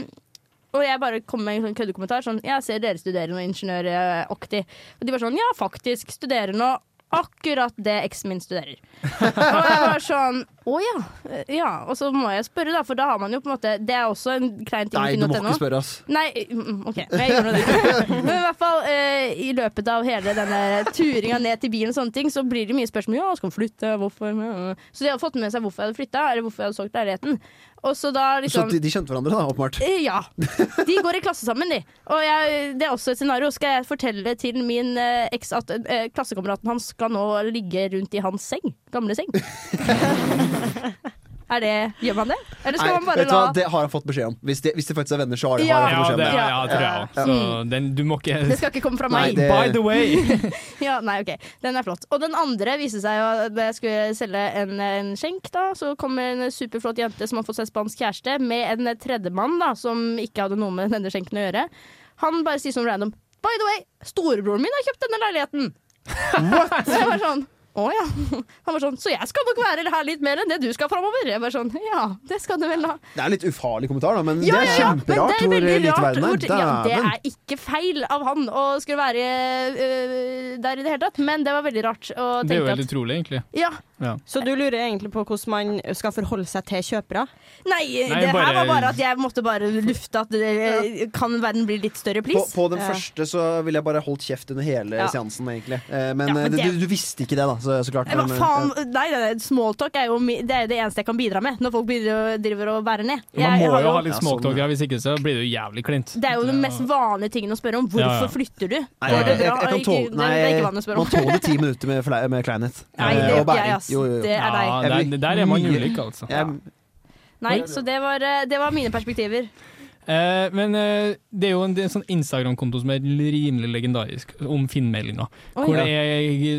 B: og jeg bare kom med en sånn køddekommentar sånn Jeg ser dere studerer noe ingeniøraktig. Og de var sånn Ja, faktisk. Studerer nå akkurat det eksen min studerer. Og jeg var sånn Å ja. eh, ja. Og så må jeg spørre, da, for da har man jo på en måte Det er også en klein ting.
A: Nei,
B: i
A: du må
B: finn.no.
A: ikke spørre, ass.
B: Nei, mm, OK. Men jeg gjør nå det. Men i hvert fall eh, i løpet av hele denne turinga ned til bilen, og sånne ting, så blir det mye spørsmål. Ja, skal man flytte? Hvorfor? Ja. Så de hadde fått med seg hvorfor jeg hadde flytta, eller hvorfor jeg hadde solgt leiligheten. Og så da
A: Så
B: liksom
A: de, de kjente hverandre, da, åpenbart.
B: Eh, Ja. De går i klasse sammen, de. Og jeg, det er også et scenario. Skal jeg fortelle til min eh, eks at eh, klassekameraten hans skal nå ligge rundt i hans seng? Gamle seng. Er det, gjør man det? Eller skal
A: Nei,
B: man bare
A: vet du hva,
B: la
A: det har han fått beskjed om. Hvis de, hvis de faktisk er venner, så har de,
B: Ja.
A: har han
C: Ja,
A: fått
C: det
A: beskjed om det.
C: ja, tror jeg også. Så
B: Ja.
C: den, du må ikke
B: Det skal ikke komme fra
A: Nei,
B: meg.
A: det-
C: By the way!
B: Ja, nei, ok. Den er flott. Og den andre viste seg jo at da jeg skulle selge en, en skjenk, da, så kommer en superflott jente som har fått seg spansk kjæreste, med en tredjemann da, som ikke hadde noe med denne skjenken å gjøre. Han bare sier sånn random By the way, storebroren min har kjøpt denne leiligheten! What? Så jeg var sånn å ja. Han var sånn, så jeg skal nok være her litt mer enn det du skal framover. Jeg bare sånn, ja, det skal du vel ha.
A: Det er en litt ufarlig kommentar, da, men
B: Ja,
A: det
B: ja,
A: er
B: ja, men
A: kjemperart
B: det er
A: hvor
B: veldig
A: lite
B: rart
A: verden er.
B: hvor- Ja, det
A: Dæven.
B: er ikke feil av han å skulle være øh, der i det hele tatt, men det var veldig rart å
C: Det er jo
B: tenke
C: helt
B: at
C: utrolig, egentlig.
B: ja,
D: Så du lurer egentlig på hvordan man skal forholde seg til kjøpere?
B: Nei,
C: Nei,
B: det
C: bare-
B: her var bare at jeg måtte bare lufte at det, kan verden bli litt større,
A: På,
B: please?
A: på den
D: Ja.
A: første så ville jeg bare holdt kjeft under hele
B: Ja.
A: seansen, egentlig. Eh, men
B: Ja, men
A: eh, det,
B: det-
A: du, du visste ikke det, da, så, så klart.
B: Hva
A: Men, eh,
B: faen? Nei, nei, nei, smalltalk er jo mi- det, er jo det eneste jeg kan bidra med når folk bidrar, driver og bærer ned.
C: Man
B: Jeg
C: må
B: har
C: jo ha
A: Ja,
C: litt
A: sånn,
C: småtalk
A: ja.
C: her, hvis ikke så blir det jo jævlig klint.
B: det er jo den mest vanlige tingen å spørre om. Hvorfor
C: Ja, ja.
B: flytter du?
A: Nei,
B: Går
A: jeg,
B: det
A: jeg,
B: bra?
A: jeg kan
B: Ikke-
A: tåle
B: det-
A: Nei,
B: det er ikke vanlig å spørre om.
A: man tåler ti minutter med, fla- med kleinhet.
B: Nei,
A: Eh,
B: det gjør
A: og
B: ikke jeg,
A: bæring.
B: ass.
A: Jo, jo, jo.
B: Det er deg.
C: Ja, der, der er man
A: Mye.
C: ulik, altså.
A: Jeg,
B: Nei, så det var, eh, det var mine perspektiver.
C: Eh, men eh, det er jo en, det er en sånn Instagram-konto som er rimelig legendarisk, om Finn-meldinga.
B: Oi.
C: Hvor det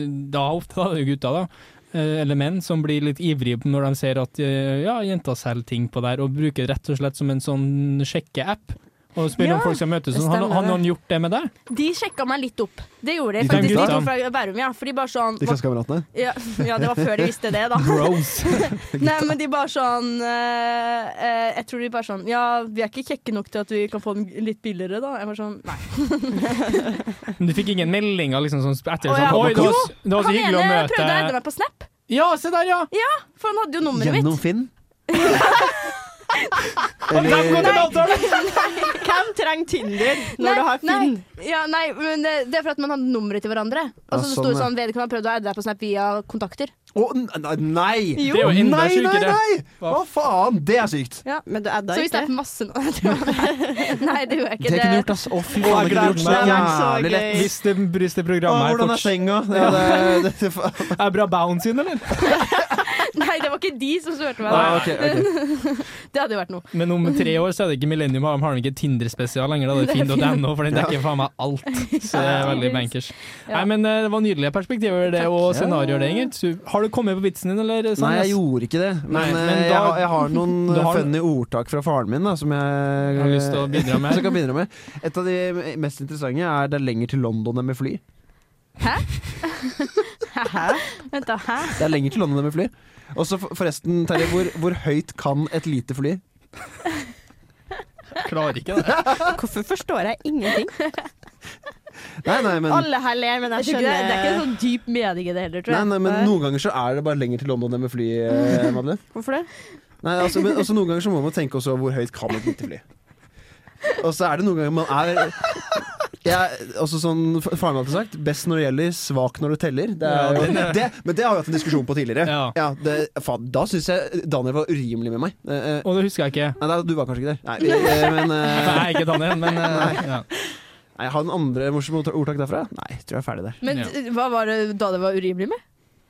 C: er da ofte da, det er jo gutta, da. eh, Eller menn som blir litt ivrige når de ser at eh, ja, jenta selger ting på der, og bruker rett og slett som en sånn sjekkeapp. Og spør
B: Ja,
C: om folk skal møtes.
D: det
C: Sånn, har,
D: stemmer
C: har
D: det.
C: noen gjort det med deg?
B: De sjekka meg litt opp. Det gjorde de
C: De
B: faktisk, de
C: gutta?
B: to fra Bærum, ja. For de bare sånn
A: de klassekameratene?
B: ja, ja, det var før de visste det, da.
C: Gross.
B: Nei, men de bare sånn eh, eh, Jeg tror de bare sånn Ja, vi er ikke kjekke nok til at vi kan få den litt billigere, da. Jeg var sånn Nei.
C: Men du fikk ingen meldinger liksom, sånn, etter?
B: Å, ja.
C: Sånn, Oi, det var,
B: Jo,
C: det var så
B: Han
C: hyggelig å
B: ene
C: møte
B: prøvde å edde meg på Snap,
C: Ja, se der, ja!
B: for han hadde jo nummeret
A: Gjennom
B: mitt.
A: Finn?
C: Der går det en avtale!
D: Hvem trenger Tinder når du har Finn?
B: Nei, ja, nei, men det, det er for at man hadde nummeret til hverandre. Og
A: Ja,
B: så
A: sånn,
B: sto det
A: ja.
B: sånn Vedkommende har prøvd å adde deg på Snap via kontakter.
A: Å, n- n- nei!
C: Det er jo enda
A: nei, nei,
C: sykere.
A: nei! Hva faen? Det er sykt!
D: Men du adda
B: Så vi
D: ikke?
B: snappet masse nå. jeg tror. Nei, det gjorde jeg
A: Det
B: ikke.
A: kunne
B: Det,
A: gjort, ass. Å, fy faen,
C: Å,
A: det kunne
C: jeg
A: gjort
C: gleder
A: meg
D: meg. Det er så
A: jævlig
D: gøy.
A: lett.
C: Hvis det, hvis det
A: Å,
C: programmet her
A: hvordan er
C: fortsetter
A: senga? Ja, det, det, det,
C: Er bra bounce inn, eller?
B: nei, det var ikke de som spurte meg.
A: Ah, ok, ok.
B: Det hadde jo vært noe.
C: Men om tre år så er det ikke Millennium Arm, har de ikke Tinder-spesial lenger. Da. Det er fint.no, for den dekker faen meg alt. Så det er veldig bankers.
B: Ja.
C: Nei, men eh, Det var nydelige perspektiver det, og scenarioer, det, Ingrid. Så, Har du kommet på vitsen din, eller?
A: Nei, jeg
C: Sandnes?
A: gjorde ikke det. Men,
C: sånn Nei, men
A: eh,
C: da-
A: jeg, har- jeg har noen
C: Du har-
A: eh, funny ordtak fra faren min da, som jeg
C: Jeg har lyst til å bidra med.
A: som jeg kan bidra med. Et av de mest interessante er 'det er lenger til London enn med fly'.
B: Hæ? Vent da, hæ?
A: Det er lenger til London enn med fly. Og så for- forresten, Terje, hvor, hvor høyt kan et lite fly?
C: Klarer ikke det.
D: Hvorfor forstår jeg ingenting?
A: Nei, nei, men
D: Alle her ler, men
B: Jeg
D: jeg
B: tror ikke
D: skjønner
B: det, det er ikke en sånn dyp mening i det heller, tror
A: Nei,
B: jeg.
A: nei, men Noen ganger så er det bare lenger til London enn med fly. eh, Madeleine.
D: Hvorfor det?
A: Nei, altså, men også Noen ganger så må man tenke også hvor høyt kan et lite fly. Og så er det noen ganger man er jeg, også sånn, f- Faren min hadde sagt 'best når det gjelder, svak når det teller'. Det er
C: Ja,
A: jo,
C: den er-
A: det, men det har vi hatt en diskusjon på tidligere.
C: Ja.
A: det, faen, da syns jeg Daniel var urimelig med meg. Eh, eh,
C: Og det husker jeg ikke.
A: nei, da- du var kanskje ikke der. Nei, eh, men eh,
C: Nei, ikke Daniel, men eh, ja.
A: Nei, Har du noen andre morsomme ordtak- ordtak derfra? Nei, tror jeg er ferdig der.
B: Men
C: Ja.
B: hva var det da det var urimelig med?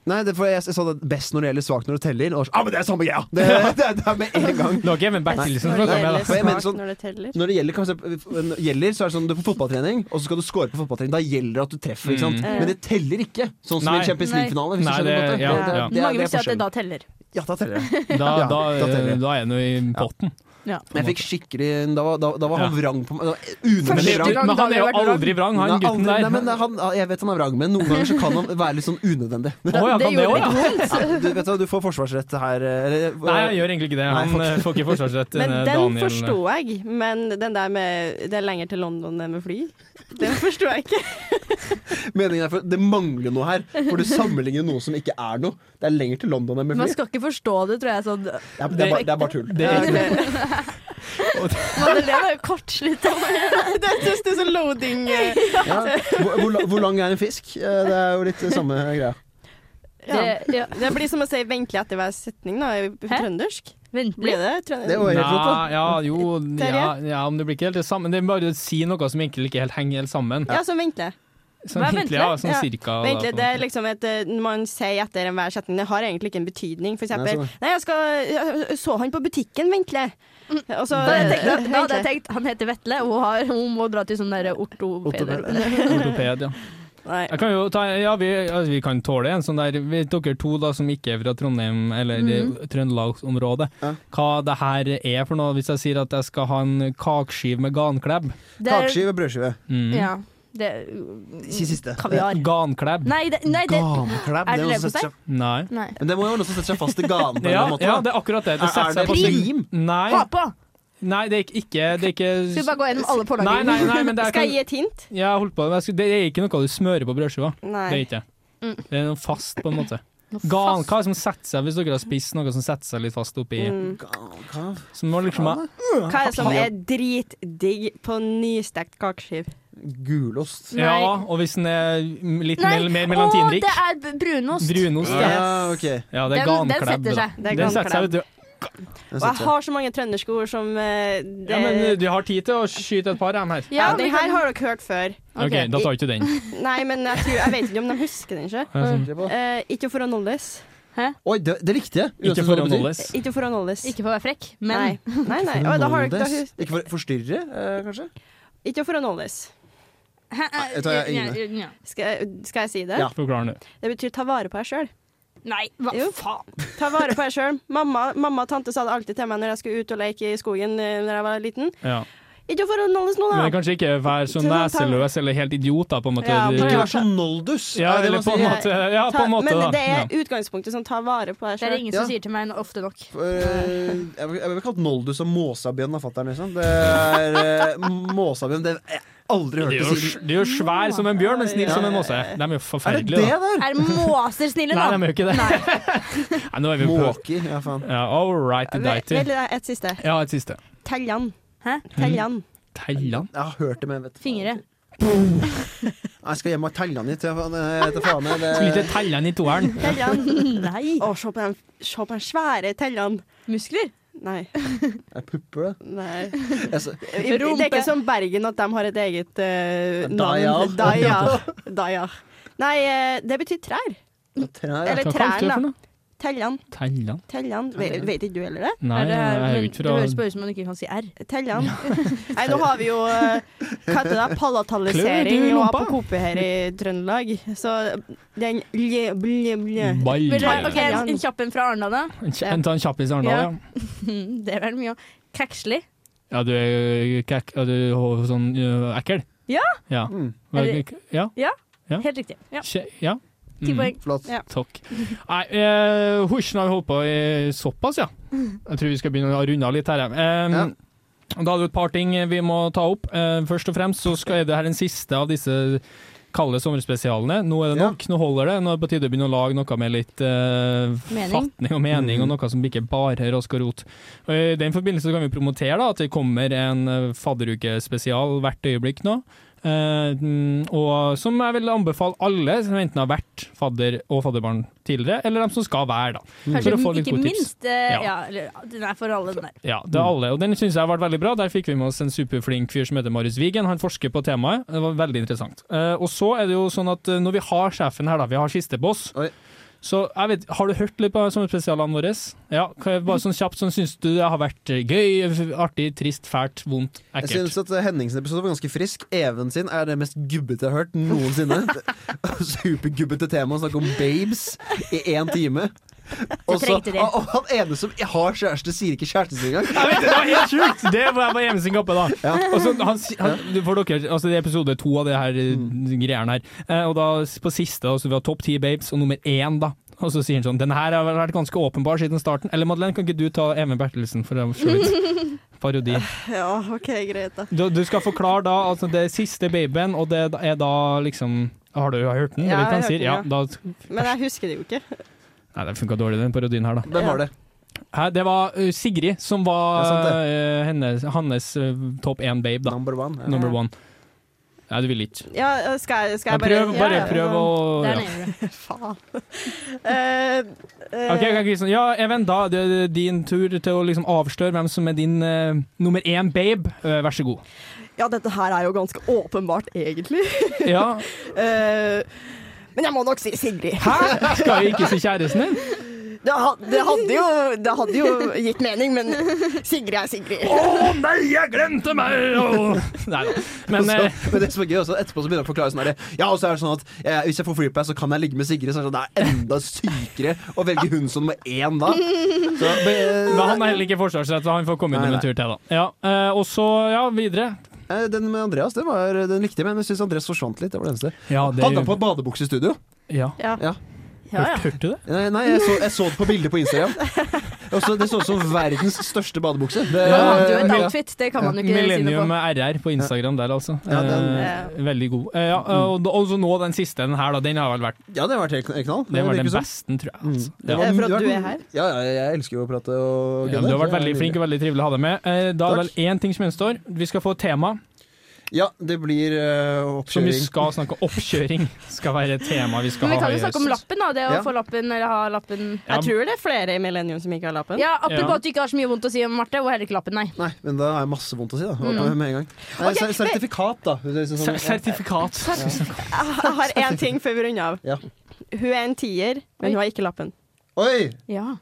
A: Nei, det, for jeg, jeg sa det best når det gjelder svakt når du teller. Og så, ah, men det er samme greia! Det, det, det er med en gang.
C: Det var ikke Even Bertilsen som
D: Når det
C: snakka med
D: gjelder
C: det.
A: For jeg mener
D: smak
A: sånn-
D: når det teller.
A: Når det gjelder, kan vi se- når det gjelder, så er det sånn du er på fotballtrening, og så skal du score på fotballtrening. Da gjelder det at du treffer, ikke sant?
D: Mm.
A: Men det teller ikke, sånn som i
C: Nei.
A: en Champions League-finale. hvis du
C: Nei,
A: skjønner godt
C: det-
A: det.
C: ja,
A: Det- det- det
C: ja.
A: er-
B: Mange
A: det er
B: vil si at det
A: forskjellen.
B: da teller.
A: Ja, da teller det.
C: Da,
A: Ja,
C: da, eh,
A: da teller jeg.
C: da er jeg nå i potten.
B: Ja.
A: Men jeg fikk skikkelig Da var, da, da var han
C: Ja.
A: vrang på meg. da var jeg
C: Men,
A: Unødvendig
C: det,
A: vrang.
C: men han er jo aldri vrang, han
A: Nei, aldri-
C: gutten
A: Nei, men det
C: der.
A: er han, jeg vet han er vrang, men noen ganger så kan han være litt sånn unødvendig.
C: Å
B: det
C: ja, kan det
B: gjorde
C: òg,
B: det ikke
C: ja.
B: vondt.
A: Du, vet du, du får forsvarsrett her. Eller, eh,
C: Nei, jeg gjør egentlig ikke det. Han eh, får ikke forsvarsrett.
D: Men
C: eh,
D: den
C: Daniel.
D: forsto jeg, men den der med det er lenger til London enn med fly, den forsto jeg ikke.
A: Meningen er for Det mangler noe her, for du sammenligner noe som ikke er noe. Det er lenger til London enn med
B: Man
A: fly.
B: skal ikke forstå det, tror jeg. Sånn.
A: Det er, det er, bare, det er bare tull.
C: Det er
B: Madeleine er jo kortslitt.
D: Det syns du er så loading. eh,
A: Ja. Hvor, hvor, la- hvor lang er en fisk? Eh, Det er jo litt samme greia.
D: Ja.
B: Det- ja.
D: Det blir som å si 'ventelig' etter hver setning da, i trøndersk. Blir
B: Ventelig.
D: det trøndersk?
A: Det var helt flott, da.
C: Nei, ja, jo,
D: Terje?
C: ja, ja, men det blir ikke helt det samme. Det er bare å si noe som egentlig ikke helt henger helt sammen.
D: Ja, som ventelig.
C: Sånn
D: Hva er
C: hintlig, ja.
D: ventelig?
C: Sånn
D: Ja.
C: cirka. da,
D: Vent litt,
C: på en
D: det er
C: måte.
D: liksom et eh, Man sier etter enhver setning. Det har egentlig ikke en betydning. For eksempel
A: Nei,
D: Nei,
A: så-
D: jeg skal jeg Så han på butikken, Altså, Venkle? Og så
B: Mm. Da hadde jeg
D: Venkle.
B: tenkt, da hadde jeg tenkt han heter Vetle, og hun, har, hun må dra til sånn derre ortopeder.
C: Ortoped, ja.
D: Nei.
C: Jeg kan jo ta, ja, vi, ja, vi kan tåle en sånn der vi- Dere to da som ikke er fra Trondheim eller
D: Mhm.
C: eh, Trøndelagsområdet,
A: Ja.
C: hva det her er for noe hvis jeg sier at jeg skal ha en kakeskive med ganklebb?
B: Det er-
A: Kakeskive, brødskive.
C: Mm.
B: Ja. Det er
A: Si siste.
B: kaviar.
C: Ganklebb?
B: Nei, det, nei, det
A: Ganklæbb.
B: Er det
A: jo noe som
B: leverpostei?
A: setter seg-
C: Nei.
B: nei.
A: Men det må jo være noe som setter seg fast i ganen på en eller
C: Ja,
A: annen måte. da.
C: ja, det er akkurat det. Det
A: Er-
C: setter
A: er det
C: seg på
A: prim?
C: slim. Nei,
B: Ha på!
C: nei, det er ikke- ikke Det er
B: Skal vi
C: ikke
B: bare gå gjennom alle
C: Nei,
B: forlagene?
C: nei, nei, men det er
D: Skal jeg
C: ikke
D: gi et hint?
C: Jeg har holdt på det, men jeg skulle- det er ikke noe du smører på brødskiva.
D: Nei.
C: Det er ikke det.
B: Mm.
C: Det er noe fast, på en måte.
B: Noe
C: Gan,
B: fast.
C: hva er det som setter seg, hvis dere har spist noe som setter seg litt fast oppi
D: Mm.
A: Ganklæbb.
C: Som må liksom ha
D: Hva er det som er dritdigg på nystekt kakeskiv?
A: Gulost.
B: Nei.
C: Ja, og hvis den er m- litt
B: Nei.
C: mel mer
B: Å,
C: melantinrik.
B: det er b- brunost.
C: Brunost, ja.
A: Ja, ok.
C: Ja, det er
B: Den- den
C: ganklebb.
B: setter
C: da.
B: seg.
D: Det er
C: Den setter seg,
D: ganklem.
C: vet du.
A: Den
D: Og jeg
A: setter seg.
D: har så mange trønderske ord som eh, det,
C: Ja, men eh, du har tid til å skyte et par, dem her.
D: Ja,
B: men
D: den her har dere hørt før.
C: OK, da tar ikke du den. sånn-
D: Nei, men jeg, tror, jeg vet ikke om de husker den ikke.
C: Ikke
A: Se på.
D: Eh, ikke for å nolles.
A: Oi, det, det likte jeg! Uansett hva
C: for
A: det
C: å
A: betyr.
C: nåles.
D: Ikke for å nolles.
B: Ikke for å være frekk, men
D: Nei, nei. nei. Oi, da har dere, da, hus-
A: Ikke for å forstyrre, eh, kanskje?
D: ikke for å nolles.
B: Hæ,
A: Nei, jeg tar
B: ja,
A: Ine.
B: ja, ja.
D: Skal, jeg- skal jeg si det?
A: Ja.
C: Forklar den, du.
D: Det betyr ta vare på deg sjøl.
B: Nei, hva
D: Jo.
B: faen?
D: Ta vare på deg sjøl. Mamma, mamma og tante sa det alltid til meg når jeg skulle ut og leke i skogen eh, Når jeg var liten.
C: Ja.
D: Ikke for å nolles nå,
C: Men det er
D: da!
C: kanskje ikke være så
D: Ikke sant, ta-
C: neseløs eller helt idiot, da, på en måte.
D: Ja,
C: Du-
D: men-
A: Ikke vær så noldus!
C: ja,
A: Er det
C: eller
A: man
C: på en
A: sier?
C: måte. Ja, på
D: Ta,
C: en måte, da.
D: men det
C: Ja.
D: er utgangspunktet som tar vare på deg
B: Det er
D: sjøl.
B: ingen som
A: Ja.
B: sier til meg noe ofte nok.
A: Eh, Jeg vil- jeg ville kalt noldus og måsabjørn av fatter'n, liksom. Det er eh, Måsabjørn Det har jeg aldri
C: De
A: hørt
C: er,
A: det
C: jo,
A: siden.
C: de er jo svær som en bjørn, men snill
A: Ja.
C: som en måse. De er jo
A: Er det
C: forferdelige,
A: det
C: da.
A: der?
B: Er måser snille,
C: Nei,
B: da?
C: de er jo ikke det.
B: Nei.
C: Nei, nå er vi på
A: Måker, ja faen.
C: ja, All right,
D: Vel,
C: dighty.
D: et siste.
C: Ja, et siste.
D: Teljan.
B: Hæ?
C: Mm.
D: Teljan.
C: Thailand?
A: Jeg har hørt det, men jeg vet
B: Fingre.
A: Nei, Jeg skal hjem og telle den hit. Jeg faen, jeg vet da faen jeg,
C: Skulle
A: det-
C: ikke Thailand i toeren.
D: Teljan.
B: Nei.
D: Å, se på den, se på den svære teljan.
B: Muskler?
D: Nei.
A: Jeg pupper det.
D: Nei.
A: Jeg så-
D: Det er ikke som Bergen at de har et eget eh,
A: Dayal.
D: navn. Dayal. Dayal. Nei, eh, det betyr trær.
A: Trær, ja.
D: Eller
C: Hva kalte du det for
D: trærne.
C: noe?
D: Teljan.
C: Thailand?
D: Teljan. Vet, vet ikke du heller det?
C: Nei,
B: er det,
C: jeg er jo
B: men,
C: ikke
B: det
C: fra
B: høres bare ut som man ikke kan si R.
D: Teljan. Nei, nå har vi jo eh, Hva heter det?
C: Klør
D: Palatalisering
C: du i
D: og
C: lompa?
D: apokope her i Trøndelag. Så den blje, blje, blje.
C: Ball.
B: Vil dere,
D: Nei.
B: ok, en, en kjapp en fra Arendal, da.
C: En kj- en ta en kjappis, Arendal, ja.
B: Hmm, Det er vel mye òg. Kakslig.
C: Ja, du er kek, ja, du er ho- sånn ø, ekkel?
B: Ja.
C: Ja.
A: Mm,
B: Er
C: ja. Ja.
B: Helt riktig. Ja.
C: Kje- ja.
B: Ti
C: Mm,
B: poeng.
A: flott.
D: Ja.
C: Takk. Nei, eh, husjen har vi holdt på i såpass, ja. Jeg tror vi skal begynne å runde av litt her. ja. Eh,
A: Ja.
C: Da er det jo et par ting vi må ta opp. Eh, først og fremst så skal er det her den siste av disse kalde sommerspesialene. Nå er det
A: Ja.
C: nok, nå holder det. Nå er det på tide å begynne å lage noe med litt eh,
B: Mening.
C: fatning og mening,
A: Mhm.
C: og noe som ikke bare rask og rot. Og I den forbindelse så kan vi promotere da, at det kommer en eh, fadderukespesial hvert øyeblikk nå. Eh, mm, og som jeg vil anbefale alle som enten har vært fadder og fadderbarn tidligere, eller de som skal være, da.
B: Kanskje
C: For å få litt
B: ikke
C: gode tips.
B: minst eh,
C: Ja.
B: ja. eller, ja, Den er for alle, den der.
C: Ja,
A: Mm.
C: det er alle, og den syns jeg ble veldig bra. Der fikk vi med oss en superflink fyr som heter Marius Wigen. Han forsker på temaet. Det var veldig interessant. Eh, og så er det jo sånn at eh, når vi har sjefen her, da, vi har siste boss
A: Oi.
C: Så jeg vet, Har du hørt litt på sommerspesialene våre? Ja, kan jeg bare sånn kjapt sånn, Syns du det har vært eh, gøy, artig, trist, fælt, vondt,
A: Jeg
C: ekkelt?
A: synes at eh, Henningsen episode var ganske frisk. Even sin er det mest gubbete jeg har hørt noensinne. Supergubbete tema å snakke om babes i én time. Og, så,
B: trengte det.
A: og og han ene som har kjæreste, sier ikke kjæresten sin engang.
C: Jeg vet, det var helt sjukt! Det var jeg var hjemme sin kappe da.
A: Ja.
C: Og så han, han, for dere, altså det er episode to av det her eh,
A: Mm.
C: greiene her. Eh, og da s- på siste, altså vi har topp ti babes, og nummer én da. Og så sier han sånn Den her har vel vært ganske åpenbar siden starten. Eller Madeleine, kan ikke du ta Even Bertelsen for å for så vidt parodi?
D: Ja, OK, greit, da.
C: Du, du skal forklare da altså det er siste babyen, og det er da liksom Har du hørt den?
D: Ja,
C: Ja,
D: jeg
C: jeg
D: har
C: sier. Ja,
D: hørt den,
C: da,
D: Men jeg husker det jo ikke.
C: nei, det funka dårlig, den parodien her, da.
A: Hvem var det?
C: Hæ, det var eh, Sigrid som
A: Det
C: var
A: er sant,
C: eh, hennes, hans eh, topp én babe, da.
A: Number one. Ja.
C: Number one. Nei, du vil ikke.
D: Ja, skal jeg,
C: Ja,
D: skal jeg bare
C: prøv, bare
D: ja,
C: prøv å
B: Der
C: ja.
B: nede.
D: Faen. Eh, eh,
C: Ok, ok, Kristian. Ja, Even, da er det din tur til å liksom avsløre hvem som er din eh, nummer én babe. Eh, vær så god.
D: Ja, dette her er jo ganske åpenbart, egentlig.
C: Ja.
D: Eh, men jeg må nok si Sigrid.
C: Hæ? Skal jeg ikke si kjæresten din?
D: Det, ha, det, hadde jo, det hadde jo gitt mening, men Sigrid er Sigrid.
C: Å nei, jeg glemte meg! Å. Nei da. Men
A: Så,
C: eh,
A: men det som er gøy også, etterpå så begynner jeg å forklare sånn her, Ja, og så er det sånn at eh, hvis jeg får flypass, så kan jeg ligge med Sigrid. Så er det sånn, det er enda sykere å velge hun som nummer én da. Så,
C: men
A: be,
C: han har heller ikke forsvarsrett, så han får komme
A: Nei,
C: innom en
A: nei.
C: tur til, da. Ja, eh, og så, ja, videre.
A: eh, den med Andreas, det var, eh, den likte jeg, men jeg syns Andreas forsvant litt. Det var det eneste.
C: Ja, det
A: Hadde han på badebukse i studio?
C: ja.
B: Ja.
A: Ja.
B: Ja, ja.
C: Hørte, hørte du det?
A: Nei, nei jeg, så, jeg så det på bildet på Instagram. Og så- det så ut som verdens største badebukse. Det,
B: Han hadde jo et
A: Eh, ja.
B: outfit, det kan man jo ikke si noe
C: Millennium
B: på.
C: RR på Instagram der, altså.
A: Ja, den-
C: Eh, veldig god. Eh, ja, og da- og så nå den siste den her, da. Den har vel vært
A: ja, det var helt knall.
C: Det var
A: virker
C: den
A: som.
C: beste, tror jeg. Altså.
A: Mm.
C: Ja.
D: Eh, for at
A: har
D: du
A: vært-
D: er her?
A: Ja, ja, jeg elsker jo å prate og
C: Ja, men du har vært veldig flink og veldig trivelig å ha deg med. Eh, Da er det
A: Takk.
C: vel én ting som gjenstår. Vi skal få et tema
A: Ja, det blir eh,
C: som vi
A: oppkjøring.
C: skal snakke om. Oppkjøring skal være et tema vi skal
B: Men vi
C: ha
B: kan
C: i
B: jo snakke om
C: høst.
B: lappen, da. Det å
A: Ja.
B: få lappen eller ha lappen.
C: Ja.
D: Jeg tror det er flere i Millennium som ikke har lappen.
B: Ja, Apropos
C: Ja.
B: at du ikke har så mye vondt å si om Marte, og heller ikke lappen, nei.
A: Nei, men da har jeg masse vondt å si, da. Med en gang. Nei,
D: Ok,
A: ser- sertifikat, da. Det er liksom
C: Ser-
A: sånn-
C: Sertifikat.
D: Jeg har én ting før vi runder av.
A: Ja.
D: Hun er en tier, men hun har ikke lappen.
A: Oi!
B: Ja.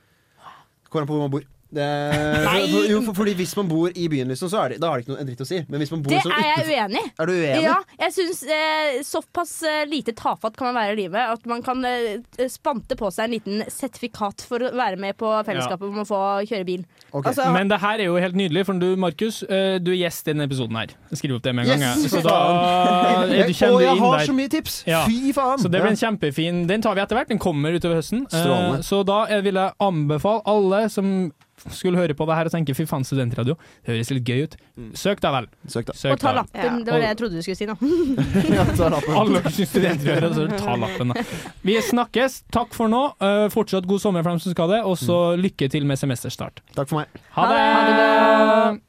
A: Kommer an på hvor man bor. Det er,
D: Nei!
A: for, jo, for, fordi hvis man bor i byen, liksom, så er det, da har det ikke noe en dritt å si. Men hvis man bor
B: Det
A: sånn
B: er jeg
A: utenfor
B: uenig i.
A: Er du uenig?
B: Ja, jeg syns eh, såpass eh, lite tafatt kan man være i livet at man kan eh, spante på seg en liten sertifikat for å være med på fellesskapet om å få kjøre bil.
A: Ok.
D: Altså,
C: Men det her er jo helt nydelig, for du Markus, eh, du er gjest i denne episoden her. Skriv opp det med en gang.
A: Yes,
C: jeg. Så
A: for
C: da er du
A: Jeg- og
C: kjenner
A: jeg
C: inn
A: har så
C: der.
A: mye tips!
C: Ja.
A: Fy faen!
C: Så det blir en
A: Ja.
C: kjempefin Den tar vi etter hvert. Den kommer utover høsten. Eh,
A: Strålende.
C: Så da eh, vil jeg anbefale alle som skulle høre på det her og tenke fy faen, studentradio, det høres litt gøy ut.
A: Mm.
C: Søk deg vel.
A: Søk, da.
C: Søk
B: og ta
C: deg vel.
B: lappen,
D: Ja.
B: det var det jeg trodde du skulle si nå.
A: Ja, ta lappen.
C: Alle dere som studerer, så ta lappen, da. Vi snakkes. Takk for nå. Eh,
A: Mm.
C: Fortsatt god sommer for dem som skal det, og så lykke til med semesterstart.
A: Takk for meg.
C: Ha det!